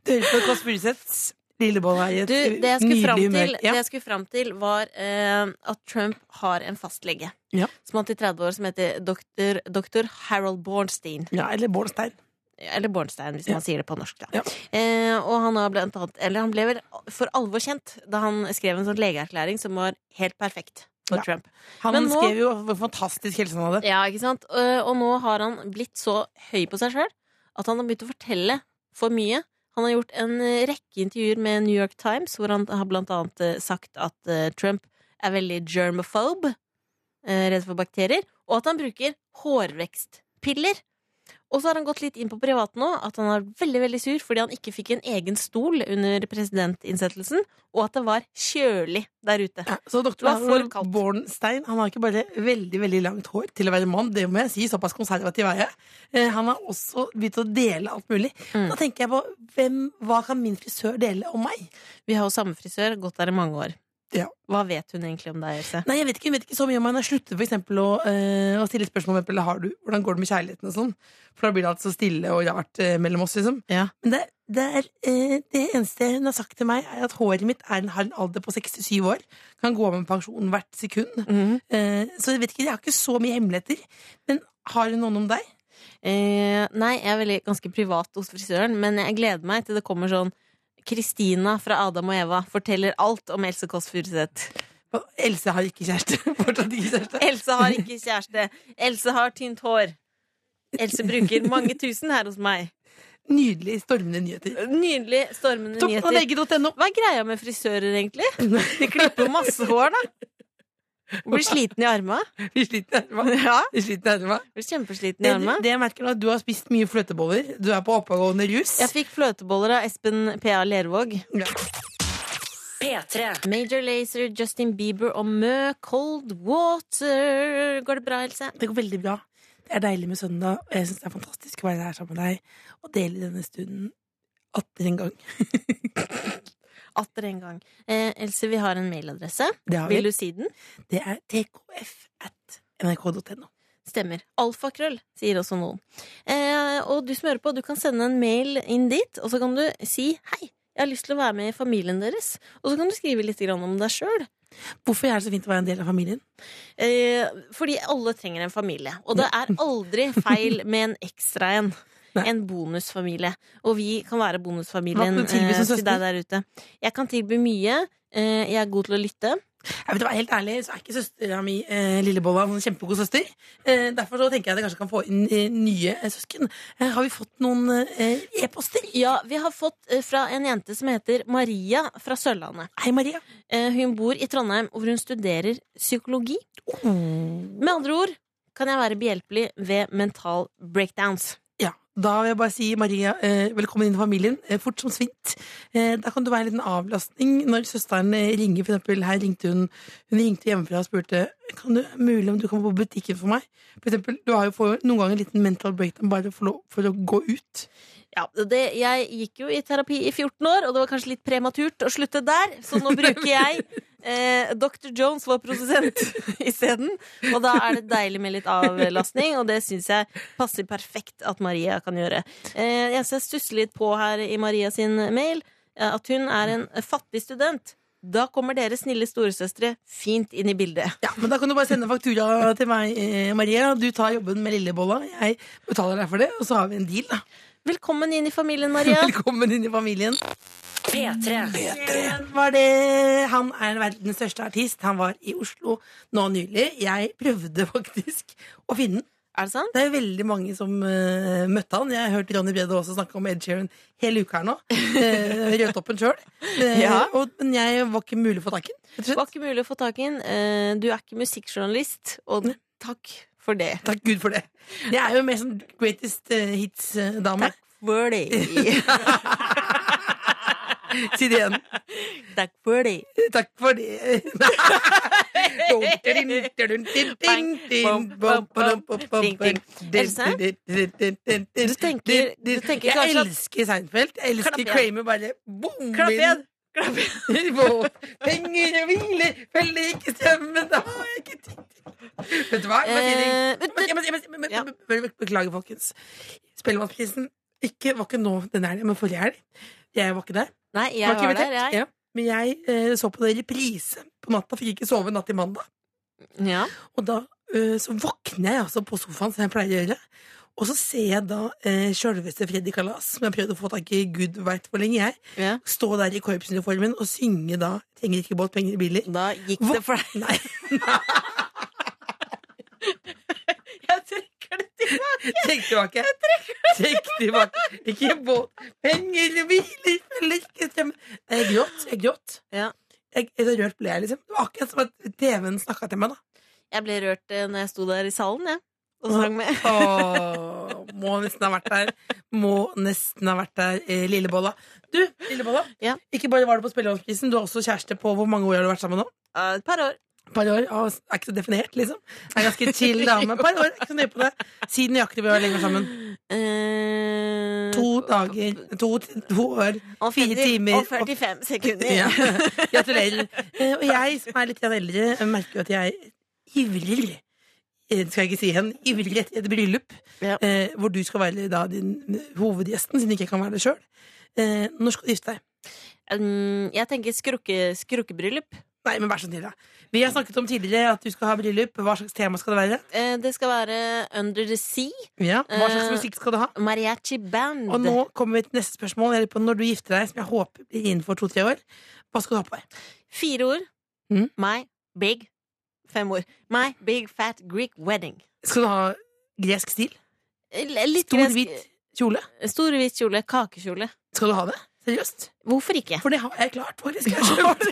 Du hører på Kåss Furuseths Lillebolla i et
Du, det jeg skulle fram
nydelig
til,
humør.
det
Ja.
jeg skulle fram til var eh, at Trump har en fastlege
Ja.
som han til 30 år, som heter doktor, doktor Harold Bornstein.
ja, eller Bård Stein.
Eller Bornstein, hvis
Ja.
man sier det på norsk. Da.
Ja.
Eh, og han, har blant annet, eller han ble vel for alvor kjent da han skrev en sånn legeerklæring som var helt perfekt for
Ja.
Trump.
Han
Men nå-
skrev jo hvor fantastisk helse han hadde.
Ja, ikke sant? Eh, Og nå har han blitt så høy på seg sjøl at han har begynt å fortelle for mye. Han har gjort en eh, rekke intervjuer med New York Times, hvor han har blant annet eh, sagt at eh, Trump er veldig germophobe, eh, redd for bakterier, og at han bruker hårvekstpiller. Og så har han gått litt inn på privat nå, at han er veldig veldig sur fordi han ikke fikk en egen stol under presidentinnsettelsen, og at det var kjølig der ute.
Ja, så
Det
doktor
var
Harold
for kaldt.
Bornstein han har ikke bare veldig veldig langt hår til å være mann, det må jeg si, såpass konservativ er jeg. Eh, Han har også begynt å dele alt mulig.
Mm.
Da tenker jeg på hvem, hva kan min frisør dele om meg?
Vi har jo samme frisør, gått der i mange år.
Ja.
Hva vet hun egentlig om deg, Else?
Nei, jeg vet ikke, hun vet ikke så mye om meg. Hun har sluttet for eksempel å, eh, å stille spørsmål om eksempel, har du, hvordan går det med kjærligheten og sånn. For da blir det alt så stille og rart eh, mellom oss, liksom.
Ja.
Men det, det, er, eh, det eneste hun har sagt til meg, er at håret mitt er en halv alder på 67 år. Kan gå av med pensjon hvert sekund.
Mhm.
Eh, så jeg vet ikke, jeg har ikke så mye hemmeligheter. Men har hun noen om deg?
Eh, nei, jeg er veldig ganske privat hos frisøren, men jeg gleder meg til det kommer sånn Kristina fra Adam og Eva forteller alt om Else Kåss Furuseth.
Og Else har ikke kjæreste. Fortsatt ikke kjæreste.
Else har ikke kjæreste. Else har tynt hår. Else bruker mange tusen her hos meg.
Nydelig stormende nyheter.
Nydelig stormende
Toppen av
nyheter.
VG.no.
Hva er greia med frisører, egentlig? De klipper jo masse hår, da. Og blir sliten i arma.
Vi sliter nærmere.
Ja,
Vi sliter nærmere.
blir kjempesliten i
Det,
arma.
det jeg merker er at Du har spist mye fløteboller. Du er på oppegående rus.
Jeg fikk fløteboller av Espen P.A. Lervåg.
Ja.
P3.
Major Lazer, Justin Bieber og Mø Cold Water. Går det bra, Else?
Det går veldig bra. Det er deilig med søndag, og jeg syns det er fantastisk å være her sammen med deg og dele denne stunden atter en gang.
Atter en gang. Eh, Else, vi har en mailadresse.
Det har vi.
Vil du si den?
Det er tkf at nrk.no.
Stemmer. Alfakrøll, sier også noen. Eh, og du som hører på, du kan sende en mail inn dit, og så kan du si hei. Jeg har lyst til å være med i familien deres. Og så kan du skrive litt grann om deg sjøl.
Hvorfor er det så fint å være en del av familien?
Eh, fordi alle trenger en familie. Og det er aldri feil med en ekstra en.
Nei.
En bonusfamilie. Og vi kan være bonusfamilien
Hva kan du tilby
eh,
som
til deg der ute. Jeg kan tilby mye. Eh, jeg er god til å lytte.
Jeg vet, du hva, Helt ærlig så er ikke søstera mi eh, Lillebolla en kjempegod søster. Eh, derfor så tenker jeg at jeg kanskje kan få inn eh, nye eh, søsken. Eh, har vi fått noen eh, e-poster?
Ja, vi har fått eh, fra en jente som heter Maria fra Sørlandet.
Hei, Maria.
Eh, hun bor i Trondheim, hvor hun studerer psykologi. Med andre ord kan jeg være behjelpelig ved mental breakdowns.
Ja, Da vil jeg bare si, Maria, eh, velkommen inn i familien. Eh, fort som svint. Eh, da kan du være en liten avlastning når søsteren eh, ringer. For eksempel, her ringte hun Hun ringte hjemmefra og spurte Kan du mulig om du kan på butikken for meg. For eksempel, du har jo få, noen ganger en liten mental breakdown bare for, lov- for å gå ut.
Ja, det, Jeg gikk jo i terapi i 14 år, og det var kanskje litt prematurt å slutte der, så nå bruker jeg eh, Dr. Jones var produsent isteden. Og da er det deilig med litt avlastning, og det syns jeg passer perfekt at Maria kan gjøre. Eh, jeg ser stusser litt på her i Maria sin mail eh, at hun er en fattig student. Da kommer dere snille storesøstre fint inn i bildet.
Ja, men Da kan du bare sende faktura til meg, eh, Maria. Du tar jobben med lillebolla. Jeg betaler deg for det, og så har vi en deal. da.
Velkommen inn i familien, Maria.
Velkommen inn i familien.
P3.
Igjen var det. Han er verdens største artist. Han var i Oslo nå nylig. Jeg prøvde faktisk å finne den.
Er det sant?
Det er veldig mange som eh, møtte han. Jeg har hørt Ronny Brede også snakke om Ed Sheeran hele uka her nå. Uh, Rødtoppen sjøl.
Ja.
Eh, Men jeg var ikke mulig å få tak i den. rett og slett.
var ikke mulig å få tak i den. Eh, Du er ikke musikkjournalist, og takk for det.
Takk Gud for det. Jeg er jo mer sånn greatest eh, hits-dame.
Takk for det.
Si det igjen.
Takk for det.
Takk for det.
Else?
Du
tenker- du tenker
Jeg
kanskje at-
elsker Seinfeld. Jeg
Klapp
elsker
igjen.
Kramer bare boom,
Klapp
inn.
igjen.
På Penger og hviler, følger ikke strømmen Da har jeg ikke tid til Vet du hva? Jeg må si det.
Eh,
Men- men- men- men- men-
Ja.
be- be- be- Beklager, folkens. Spellemannsprisen ikke, var ikke nå denne helgen, men forrige helg. Jeg var ikke der.
Nei,
Var
jeg
ikke
var der, jeg.
invitert. Ja. Men jeg eh, så på det i reprise på natta, fikk ikke sove natt til mandag.
Ja.
Og da eh, så våkner jeg altså på sofaen, som jeg pleier å gjøre. Og så ser jeg da eh, sjølveste Freddy Kalas, som jeg har prøvd å få tak i gud veit hvor lenge, jeg,
ja.
stå der i korpsuniformen og synge da 'Trenger ikke båt, penger i biler'.
Da gikk det for deg.
Nei,
Jeg trekker det til
trekk tilbake. Trekk tilbake. Ikke båt, penger i biler, følger ikke strømmen. Nei, Jeg gråt. Jeg gråt.
Ja.
Jeg, så rørt ble jeg, liksom. Det var akkurat som at TV-en snakka til meg, da.
Jeg ble rørt eh, når jeg sto der i salen, jeg. Og sang med.
Åh, må nesten ha vært der. Må nesten ha vært der, eh, Lillebolla. Du, Lillebolla.
Ja.
Ikke bare var du på Spellemannsprisen, du har også kjæreste på hvor mange år har du vært sammen nå?
Eh, Et par år.
Par år ah, er ikke så definert, liksom. Er en ganske chill dame. Par år, er ikke så nøye på det. Si nøyaktig vi har vært lenge sammen.
Eh,
To dager, to, to år.
og
fire
50
timer,
Og 45 sekunder.
Ja. Gratulerer. Eh, Og jeg som er litt grann eldre, merker jo at jeg ivrer. eh, Skal jeg ikke si hen? Ivrer etter et bryllup
Ja.
eh, hvor du skal være da din eh, hovedgjesten, siden du ikke kan være det sjøl. Eh, når skal du gifte deg?
Mm, Jeg tenker skrukke, skrukkebryllup.
Nei, men vær så snill, da. Vi har snakket om tidligere at du skal ha bryllup. Hva slags tema skal det være?
Eh, Det skal være Under the Sea.
Hva slags
Eh,
musikk skal du ha?
Mariachi Band.
Og nå kommer vi til neste spørsmål. Jeg lurer på Når du gifter deg, som jeg håper blir innenfor to-tre år, hva skal du ha på deg?
Fire ord.
Mm.
My big Fem ord. My big fat Greek wedding.
Skal du ha gresk stil?
Eh, L- Litt
Stor,
gresk-
hvit Kjole?
Stor, hvit kjole, kakekjole.
Skal du ha det? Seriøst?
Hvorfor ikke?
For det har jeg klart, faktisk. Jeg kjøpte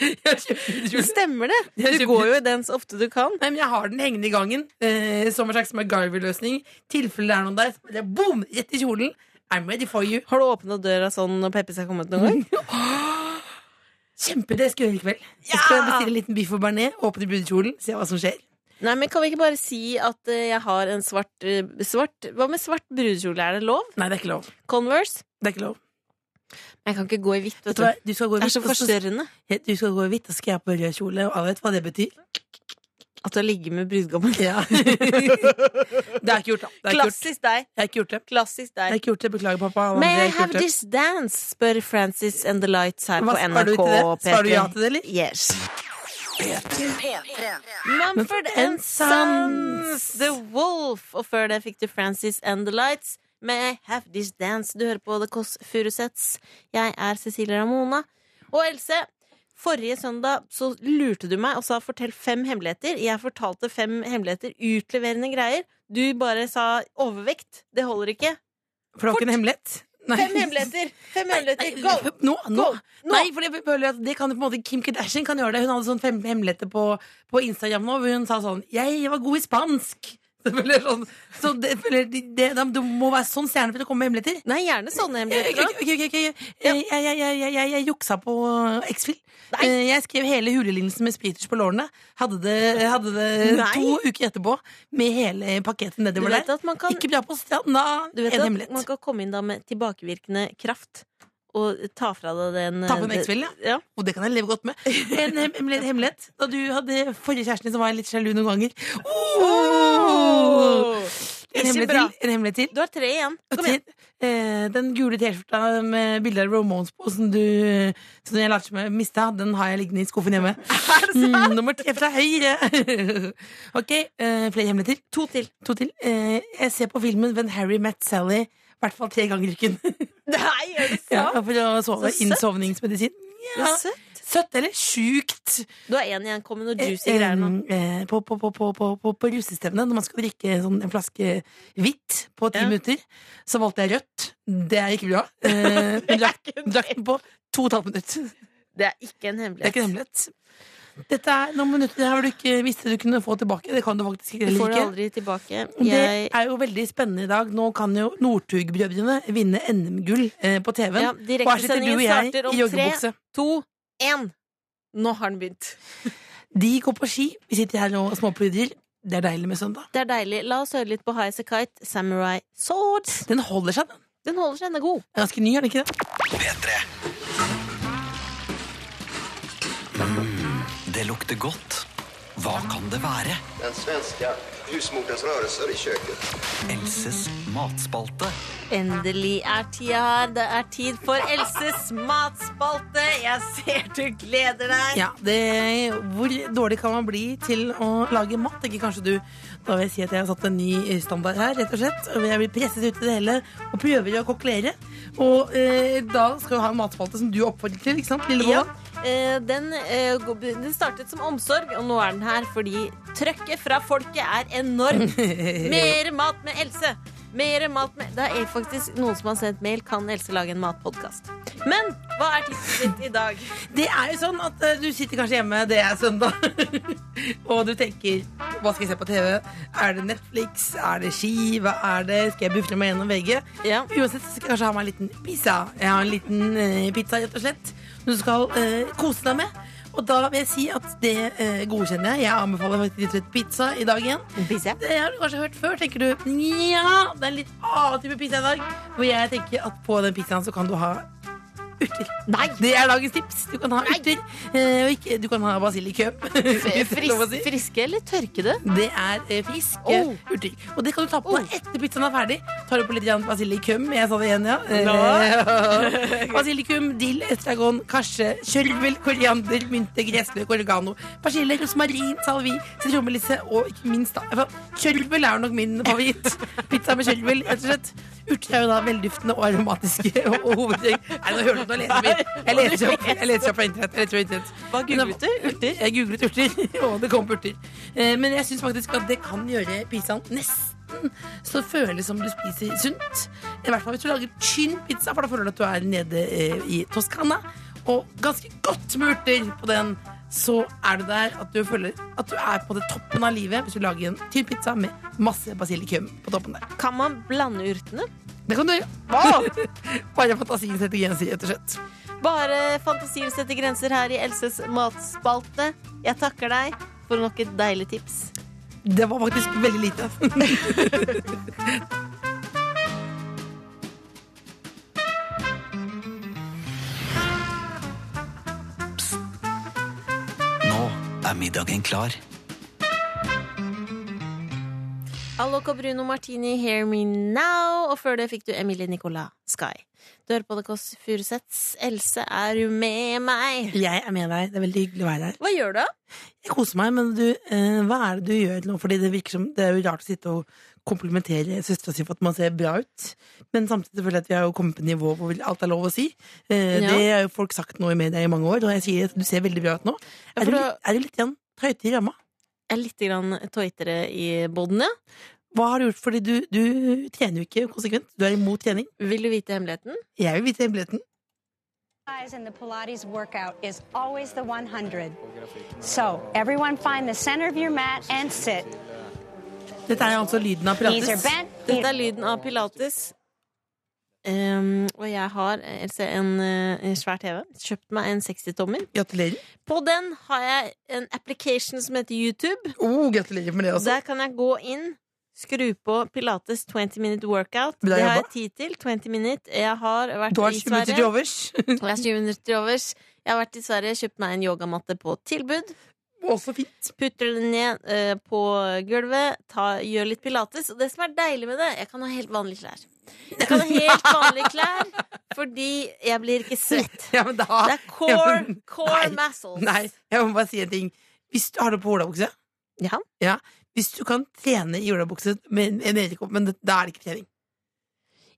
Jeg kjøpte kjole.
Stemmer det!
Jeg
Du
kjøpte-
går jo i den så ofte du kan.
Nei, men jeg har den hengende i gangen eh, som en slags MacGyver-løsning. Tilfelle det er noen der, så bare boom! Rett i kjolen. I'm ready for you.
Har du åpna døra sånn når Peppes er kommet noen gang?
Kjempeidé skal jeg gjøre i kveld. Jeg skal bestille en liten biff og bearnés, åpne brudekjolen, se hva som skjer.
Nei, men Kan vi ikke bare si at eh, jeg har en svart, eh, svart Hva med svart brudekjole? Er det lov?
Nei, det er ikke lov.
Converse?
Det er ikke lov.
Jeg kan ikke gå i hvitt.
Vet
vet
du
du.
hva, du skal gå i
Det er
hvitt,
så
og så-
forstørrende
du skal gå i hvitt, og så skal jeg ha på rød kjole, og alle vet hva det betyr.
at du har ligget med brudgommen.
Ja. det er ikke gjort, da. Det er ikke gjort.
Klassisk deg.
Jeg har ikke gjort det.
Klassisk
Jeg har
deg.
ikke gjort det. Beklager, pappa. og
May
andre,
I
jeg har
have
ikke gjort det.
this dance? spør Francis and the Lights her
Hva
på
svarer du
NRK
til det? Svarer du ja
P3.
til det, eller?
Yes. Mumford and Sons, The Wolf. Og før det fikk du Francis and the Lights med Have This Dance. Du hører på The Kåss Furuseths. Jeg er Cecilie Ramona. Og Else, forrige søndag så lurte du meg og sa 'fortell fem hemmeligheter'. Jeg fortalte fem hemmeligheter. Utleverende greier. Du bare sa 'overvekt'. Det holder ikke.
For det var ikke en hemmelighet. Nei.
Fem hemmeligheter! Fem hemmeligheter,
Nei,
Go!
Nå, nå.
Nå!
Nei, for jeg føler at det kan jo på en måte Kim Kardashian kan gjøre det. Hun hadde sånn fem hemmeligheter på, på Instagram nå, hvor hun sa sånn 'Jeg var god i spansk'. Så jeg føler sånn, så det, føler, det, det, det må være sånn stjerne for å komme med hemmeligheter.
Nei, gjerne sånne
Ok,
hemmeligheter. da.
ok, ok, ok. Jeg, jeg, jeg, jeg, jeg, jeg juksa på X-Fil.
Nei.
Eh, Jeg skrev hele hulelinsen med spriters på lårene. Hadde det, hadde det
Nei.
to uker etterpå med hele pakketet
Du
nedover
vet
der.
at man kan
Ikke bra på stranda.
Du vet
en
at man
hemmelighet.
kan komme inn da med tilbakevirkende kraft og ta fra deg den eh,
Ta på en X-Fil, ja.
ja.
Og det kan jeg leve godt med. En hem- hemmelig- hemmelighet. Da du hadde forrige kjæresten din, så var jeg litt sjalu noen ganger. Oh! En,
Ikke
hemmelighet
bra.
til, en hemmelighet til.
Du har tre igjen. Kom igjen.
Eh, Den gule T-skjorta med bilde av Ramones på, som du som jeg lærte meg å miste, den har jeg liggende i skuffen hjemme. Mm, nummer tre fra høyre. ok, eh, flere hemmeligheter.
To til.
To til. Eh, jeg ser på filmen When Harry Met Sally i hvert fall tre ganger i uken.
Nei, er det
ja, for å sove.
Så søtt.
Innsovningsmedisin. Ja.
Søtt.
Søtt eller sjukt?
Du har én igjen. Kom med noe
Eh,
juicy greier nå.
eh, På, på, på, på, på, på, på russestevnet, når man skal drikke sånn en flaske hvitt på ti
Ja.
minutter, så valgte jeg rødt. Det er ikke bra. Eh, men drakk, drakk den på to og et halvt minutt.
Det er ikke en
Det er ikke en
hemmelighet.
hemmelighet. Dette er noen minutter her du ikke visste du kunne få tilbake. Det kan du faktisk ikke.
Du får det
ikke.
aldri tilbake.
Det
Jeg
er jo veldig spennende i dag. Nå kan jo Northug-brødrene vinne NM-gull eh, på TV-en.
ja,
og her sitter du
Direktesendingen
og jeg
starter
i
om tre,
joggebukse.
to, én. Nå har den begynt.
De går på ski. Vi sitter her og småpludrer. Det er deilig med søndag.
Det er deilig. La oss høre litt på High As A Kite, Samurai Swords.
Den holder seg, den.
Den holder seg, den er god.
Den er Ganske ny, er den ikke det?
P3. Mm. Det lukter godt. Hva kan det være?
Den svenska husmorens rörelser i köket.
Elses matspalte.
Endelig er tida her. Det er tid for Elses matspalte. Jeg ser du gleder deg.
Ja, det, Hvor dårlig kan man bli til å lage mat, tenker kanskje du. Da vil jeg si at jeg har satt en ny eh, standard her, rett og slett. Og jeg blir presset ut i det hele og prøver å kokkelere. Og eh, da skal vi ha en matspalte som du oppfordrer til, ikke sant?
Ja,
Lillebolla?
eh, den, eh, går- den startet som omsorg, og nå er den her fordi trøkket fra folket er enormt. Mere mat med Else! Mere mat med Det er faktisk noen som har sendt mail. Kan Else lage en matpodkast? Men hva er tidsfritt i dag?
Det er jo sånn at eh, du sitter kanskje hjemme, det er søndag, og du tenker Hva skal jeg se på TV? Er det Netflix? Er det ski? Hva er det? Skal jeg bufle meg gjennom VG?
Ja.
Uansett så skal jeg kanskje ha meg en liten pizza. Jeg har en liten eh, pizza, rett og slett. Som du skal eh, kose deg med. Og da vil jeg si at det eh, godkjenner jeg. Jeg anbefaler faktisk rett og slett pizza i dag igjen.
Pizza?
Det har du kanskje hørt før. Tenker du ja, det er en litt annen type pizza i dag. Hvor jeg tenker at på den pizzaen så kan du ha urter.
Nei!
Det er dagens tips. Du kan ha urter. eh, og ikke, du kan ha basilikum. Hvis det er lov å si.
Fris, Eh, friske eller tørkede?
Det er eh, friske
Oh.
urter. Og det kan du ta på
Oh.
deg etter pizzaen er ferdig. Tar du på litt grann basilikum. Jeg sa det igjen, ja. Eh, basilikum, dill, estragon, karse, kjørvel, koriander, mynte, gressløk, oregano, persille, rosmarin, salvi, sitronmelisse og ikke minst da for Kjørvel er jo nok min favoritt. Pizza med kjørvel, rett og slett. Urter er jo da velduftende og aromatiske. Og, og hovedtrekk Nei, nå hører du at nå leser vi. Jeg leser opp, jeg leser opp fra internett. Jeg leser fra internett.
Hva googlet du? Urter?
Jeg googlet urter, og det kom på urter. Eh, Men jeg syns faktisk at det kan gjøre pizzaen nesten maten, så føles det som du spiser sunt. I hvert fall hvis du lager tynn pizza, for da føler du at du er nede eh, i Toskana. Og ganske godt med urter på den, så er du der at du føler at du er på det toppen av livet hvis du lager en tynn pizza med masse basilikum på toppen der.
Kan man blande urtene?
Det kan du gjøre. Åh! Bare fantasien setter grenser, rett og slett.
Bare fantasier setter grenser her i Elses matspalte. Jeg takker deg for nok et deilig tips.
Det var faktisk veldig lite.
Nå er middagen klar.
Alloco Bruno Martini, Hear Me Now. Og før det fikk du Emilie Nicolas Sky. Du hører på The Kåss Furuseths. Else, er du med meg?
Jeg er med deg. Det er veldig hyggelig å være her.
Hva gjør du?
Jeg koser meg, men du, eh, hva er det du gjør nå? Fordi det virker som Det er jo rart å sitte og komplimentere søstera si for at man ser bra ut, men samtidig føler jeg at vi har jo kommet på et nivå hvor alt er lov å si. Eh,
Ja.
Det har jo folk sagt nå i media i mange år, og jeg sier at du ser veldig bra ut nå.
Ja,
Er
for
du,
da-
litt- er du litt igjen tøyte i ramma?
Jeg er litt grann tøytere i boden, ja.
Hva har du gjort? Fordi du, du trener jo ikke konsekvent. Du er imot trening.
Vil du vite hemmeligheten?
Jeg vil vite hemmeligheten.
Guys, and the Pilates workout is always the 100. So, everyone find the center of your mat and sit.
Dette er altså lyden av
Knees are
Pilates.
bent.
Dette er lyden av pilates. Ehm, og jeg har eh, Else, en, eh, en svær TV. Kjøpt meg en 60-tommer.
Gratulerer.
På den har jeg en application som heter YouTube.
Oh, gratulerer med det også.
Der kan jeg gå inn, skru på Pilates 20 minute workout. Det
Bra
har jeg
jobba.
tid til. 20 minute. Jeg har vært
Du har
i
20 minutter til
Sverige.
overs.
Og jeg har 20 minutter til overs. Jeg har vært i Sverige, kjøpt meg en yogamatte på tilbud.
Også fint.
Putter den ned eh, på gulvet, ta, gjør litt pilates. Og det som er deilig med det, jeg kan ha helt vanlige klær. Jeg kan ha helt vanlige klær fordi jeg blir ikke svett.
Ja, men da
Det er
Ja,
core,
men-
core
Nei.
muscles.
Nei, jeg må bare si en ting. Hvis du har det på olabukse
Ja.
Hvis du kan trene i olabukse med en edderkopp, men det- da er det ikke trening.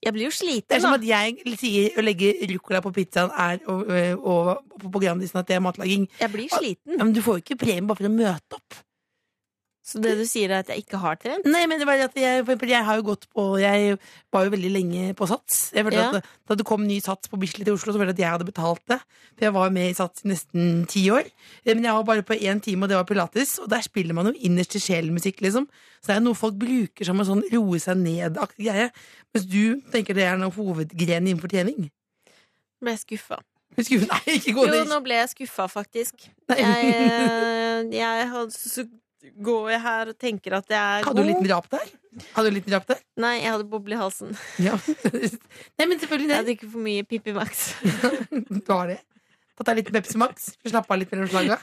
Jeg blir jo
Det er
sliten,
som
da.
at jeg sier å legge ruccola på pizzaen er og, og, og på Grandisen at det er matlaging.
Jeg blir sliten.
Ja, men du får jo ikke premie bare for å møte opp.
Så det du sier, er at jeg ikke har trent?
Nei, men det var at jeg, for eksempel, jeg har jo gått på Jeg var jo veldig lenge på Sats. Jeg følte
Ja.
at Da det kom ny Sats på Bislett i Oslo, så følte jeg at jeg hadde betalt det. For jeg var med i Sats i nesten ti år. Eh, Men jeg var bare på én time, og det var pilates. Og der spiller man jo innerst i sjelen-musikk, liksom. Så det er noe folk bruker som en sånn roe seg ned-aktig greie. Mens du tenker det er noe hovedgren innenfor trening.
Nå Ble jeg skuffa?
Husker du? Nei, ikke gå
Jo,
ned.
nå ble jeg skuffa, faktisk.
Nei.
Jeg, eh, jeg har, så går jeg her og tenker at jeg er
Hadde du en liten
god.
rap der? Hadde du en liten rap der?
Nei, jeg hadde boble i halsen.
Ja. Nei, men selvfølgelig det.
Jeg drikker for mye Pippi Max.
Du har det. Tatt deg litt Pepsi Max. Slapp av litt mellom slaga.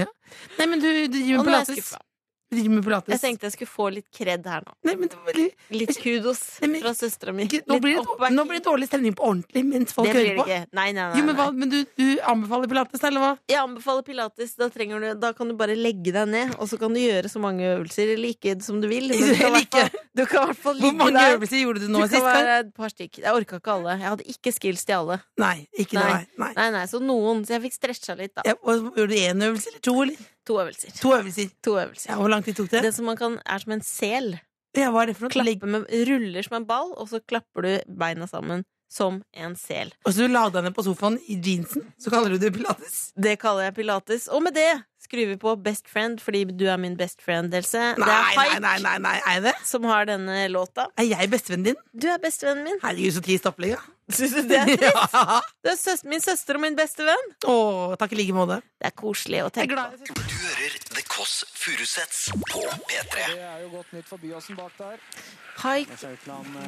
ja.
Nei, men du, du
Og
driver med
nå er jeg
pilates.
skuffa.
Du driver med pilates.
Jeg tenkte jeg skulle få litt kred her nå.
Nei, men det var litt-
Litt kudos
Nei, men-
fra søstera mi.
ikke, nå, blir det, nå blir det dårlig stemning på ordentlig mens folk
det blir
hører
det
på.
ikke. Nei, nei,
Jo,
nei,
men hva,
nei.
men du, du anbefaler pilates, eller hva?
Jeg anbefaler pilates. Da, trenger du, da kan du bare legge deg ned, og så kan du gjøre så mange øvelser eller ikke som du vil. Men du kan i
Eller
hvert fall-
ikke?
du kan i hvert fall
Hvor
ligge
mange
der.
øvelser gjorde du
Du
nå
kan
sist? Kar?
være et par stykk. Jeg orka ikke alle. Jeg hadde ikke skills til alle.
Nei, ikke det.
Nei.
Nei. nei.
Nei, nei, Så noen. Så jeg fikk stretcha litt, da.
Ja, og, gjorde du én øvelse eller to? Eller?
To øvelser.
To øvelser.
To
Ja,
øvelser.
hvor lang tid tok det?
Det som man kan, er som en sel.
Ja, hva er det for noe? Legg-
Klappe med, ruller som en ball, og så klapper du beina sammen som en sel.
Og så du la deg ned på sofaen i jeansen, så kaller du det pilates?
Det kaller jeg pilates. Og med det skrur vi på Best Friend, fordi du er min best friend, Else.
Nei,
det er
nei,
Haik
nei, nei, nei, er jeg det?
som har denne låta.
Er jeg bestevennen din?
Du er bestevennen min.
Herregud, så trist opplegg, ja.
Syns du det er trist?
ja.
Du er søs min søster og min bestevenn.
Å, takk i like måte.
Det er koselig å
Jeg er
tenke
glad
på.
i
Du hører The Kåss Furuseths på P3.
Det er jo godt nytt for Byåsen bak der.
Haik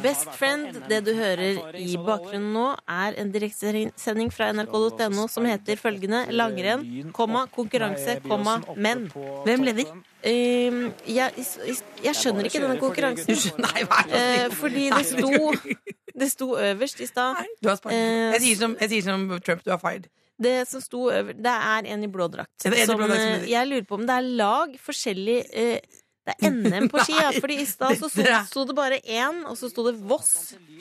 Best Friend, det du hører i bakgrunnen nå, er en direktesending fra nrk.no som heter følgende
eh,
langrenn, komma, konkurranse, komma, menn.
Hvem leder?
Ehm, jeg, jeg skjønner ikke denne konkurransen.
Nei, hva er det?
Eh, fordi det sto, det sto øverst i stad.
Du har sparket.
Eh,
jeg, sier som, jeg sier som Trump, du er fired.
Det som sto øver, det er en i blå drakt.
Ja, det er en i
Som,
blå drakt som
eh,
leder.
jeg lurer på om det er lag forskjellig eh, Det er NM på ski, ja.
Nei,
Fordi i stad så sto,
dette er-
sto det bare én, og så sto det Voss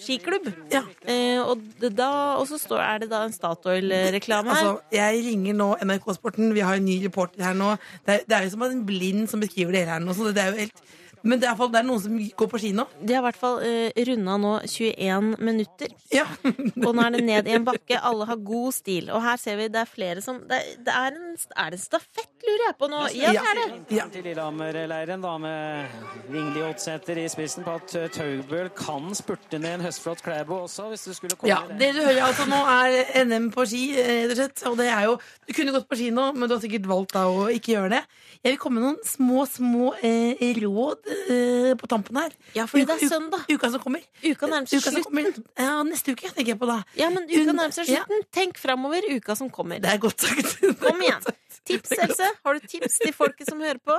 skiklubb.
Ja.
Eh, og, det da, og så står, er det da en Statoil-reklame her.
Altså, jeg ringer nå NRK Sporten, vi har en ny reporter her nå. Det er, det er jo som en blind som beskriver det her nå. Så det er jo helt Men det er, i hvert fall- det er noen som går på ski nå.
De har i hvert fall uh, runda nå 21 minutter,
Ja.
og nå er det ned i en bakke. Alle har god stil. Og her ser vi det er flere som Det, er- det er, en, er det en stafett, lurer jeg på nå? Ja, det er det.
Ja.
til Lillehammer-leiren, da med Vingli Oddsæter i spissen på at eh, Taubøl kan spurte ned en høstflott Klæbo også, hvis du skulle komme
Ja,
i det.
det du hører altså Nå er NM på ski, eh, rett og slett. Og det er jo, du kunne gått på ski nå, men du har sikkert valgt da å ikke gjøre det. Jeg vil komme med noen små, små eh, råd eh, på tampen her.
Ja, fordi
Uka-
det er
u-
søndag.
Uka som kommer.
Uka nærmer seg
Uka som
slutten.
kommer. Ja, neste uke tenker jeg på da.
Ja, men uka
Hun-
nærmer seg
Ja.
slutten. Tenk framover uka som kommer.
Det er godt sagt. Det er
Kom
godt
igjen.
sagt.
Tips, Else? Har du tips til folket som hører på?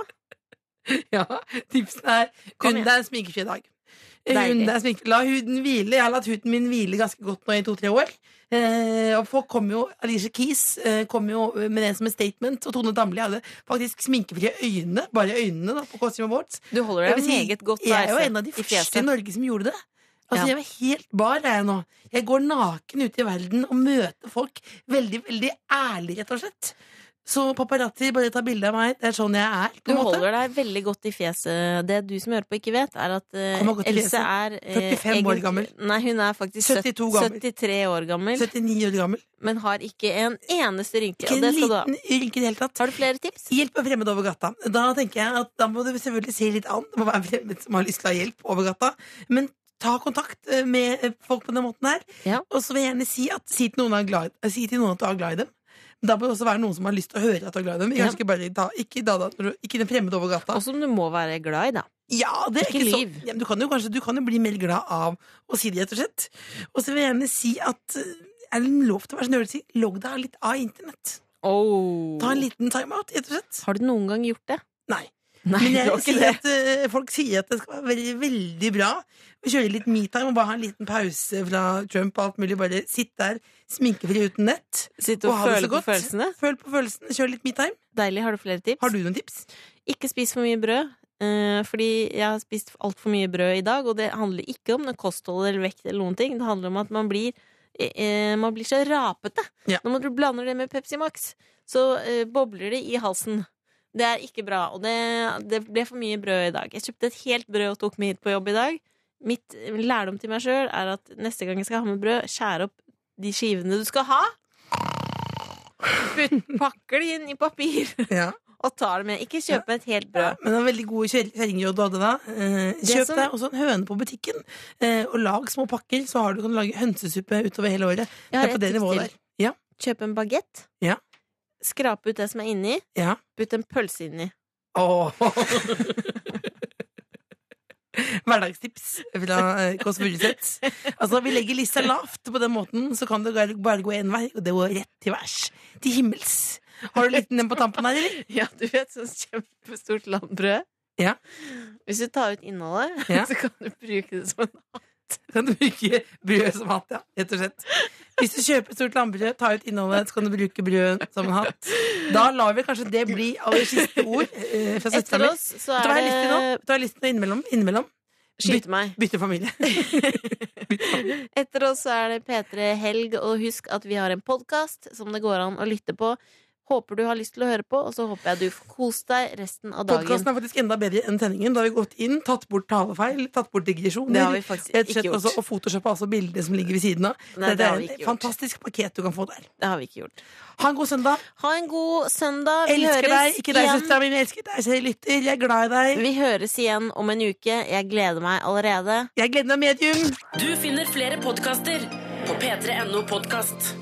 Ja, tipsen er
Kom
Hun
igjen.
det er en sminkefri dag. Hun,
Deilig.
det er smink- La huden hvile. Jeg har latt huden min hvile ganske godt nå i to-tre år. Eh, og folk kom jo, Alicia Keys eh, kom jo med det som et statement, og Tone Damli hadde faktisk sminkefrie øyne, bare øynene, da, på Costume Awards.
Du holder
Jeg
deg
vil si,
meget godt
Jeg er jo
Else,
en av de
i
første i
fjeset.
Norge som gjorde det. Altså,
Ja.
Jeg var helt bar er jeg nå. Jeg går naken ute i verden og møter folk veldig veldig ærlig, rett og slett. Så paparazzi, bare ta bilde av meg. Det er sånn jeg er.
Du
på en måte.
holder deg veldig godt i fjeset. Det du som hører på, ikke vet, er at eh,
Kom og godt i
Else er eh,
45 år gammel.
Nei, hun er faktisk
72 gammel.
73 år gammel,
79 år gammel.
men har ikke en eneste rynke.
Ikke
Og
en
det skal du ha.
liten rynke i det hele tatt.
Har du flere tips?
Hjelp er fremmed over gata. Da tenker jeg at da må du selvfølgelig se litt an. Det må være fremmed som har lyst til å ha hjelp over gata. Men ta kontakt eh, med eh, folk på den måten her.
Ja.
Og så vil jeg gjerne si, at, si, til noen er glad, eh, si til noen at du er glad i dem. Men Da bør det også være noen som har lyst til å høre at du er glad i dem.
Ja.
Kanskje ikke bare da, ikke, da, da, når du- ikke den fremmede over gata.
Og som du må være glad i, da.
Ja, det er
Ikke
ikke, så-
lyv.
Ja, men du, kan jo kanskje, du kan jo bli mer glad av å si det, rett og slett. Og så vil jeg gjerne si at eh, er det lov til å være så nødig å si logg deg litt av internett. Ta en liten timeout, rett og slett.
Har du noen gang gjort det?
Nei.
Nei,
Men
du
jeg
har ikke
sier
det.
at, eh, folk sier at det skal være veldig, veldig bra å kjøre litt metime og bare ha en liten pause fra Trump og alt mulig. Bare sitt der sminkefri uten nett.
Sitte og,
og ha det
føle
så
på
godt.
følelsene?
Føl på følelsen, kjør litt metime.
Deilig. Har du flere tips?
Har du noen tips?
Ikke spis for mye brød, eh, fordi jeg har spist altfor mye brød i dag, og det handler ikke om noe kosthold eller vekt eller noen ting. Det handler om at man blir, eh, eh, man blir så rapete.
Ja.
Når du blander det med Pepsi Max, så eh, bobler det i halsen. Det er ikke bra, og det, det ble for mye brød i dag. Jeg kjøpte et helt brød og tok med hit på jobb i dag. Mitt eh, lærdom til meg sjøl er at neste gang jeg skal ha med brød, skjær opp de skivene du skal ha. Putt, pakker de inn i papir
Ja.
og tar det med. Ikke kjøpe et helt brød.
Men det var veldig gode kjør- kjerringråd du hadde da. Eh, kjøp
som-
deg også en høne på butikken, eh, og lag små pakker, så har du kan du lage hønsesuppe utover hele året.
Jeg
Det
har
er på
et
det
tips
nivået
til.
der. Ja,
Kjøp en bagett.
Ja.
Skrape ut det som er inni.
ja.
Putt en pølse inni.
Åh. Hverdagstips fra eh, Kåss Furuseth. Altså, vi legger lista lavt på den måten, så kan det bare- bare gå én vei, og det går rett til værs. Til himmels. Har du en liten en på tampen her, eller?
Ja, du vet sånn kjempestort landbrød?
Ja.
Hvis du tar ut innholdet,
Ja.
så kan du bruke det som en
Kan du bruke brød som hatt, ja. Rett og slett. Hvis du kjøper et stort landbrød, ta ut innholdet, så kan du bruke brød som en hatt. Da lar vi kanskje det bli aller siste ord eh, fra
Etter
søstera mi.
oss så
Vet du hva jeg har lyst til nå?
er
Vet du hva jeg har lyst til nå innimellom? innimellom?
det Skyte meg.
Bytte familie.
Etter oss så er det P3 Helg, og husk at vi har en podkast som det går an å lytte på. Håper du har lyst til å høre på, og så håper jeg du får kost deg resten av dagen.
Podkasten er faktisk enda bedre enn sendingen. Da har vi gått inn, tatt bort talefeil, tatt bort digresjoner.
Det har vi faktisk
Rett og
ikke
slett også,
gjort.
og Photoshop er altså bildene som ligger ved siden av.
Nei, det
det
har vi ikke
er et
gjort.
fantastisk paket du kan få der.
Det har vi ikke gjort.
Ha en god søndag.
Ha en god søndag. Vi
Elsker
høres
deg. Ikke deg,
igjen.
søstera mi, men jeg elsker deg. Så jeg lytter. Jeg er glad i deg.
Vi høres igjen om en uke. Jeg gleder meg allerede.
Jeg gleder meg medium.
Du finner flere podkaster på p3.no podkast.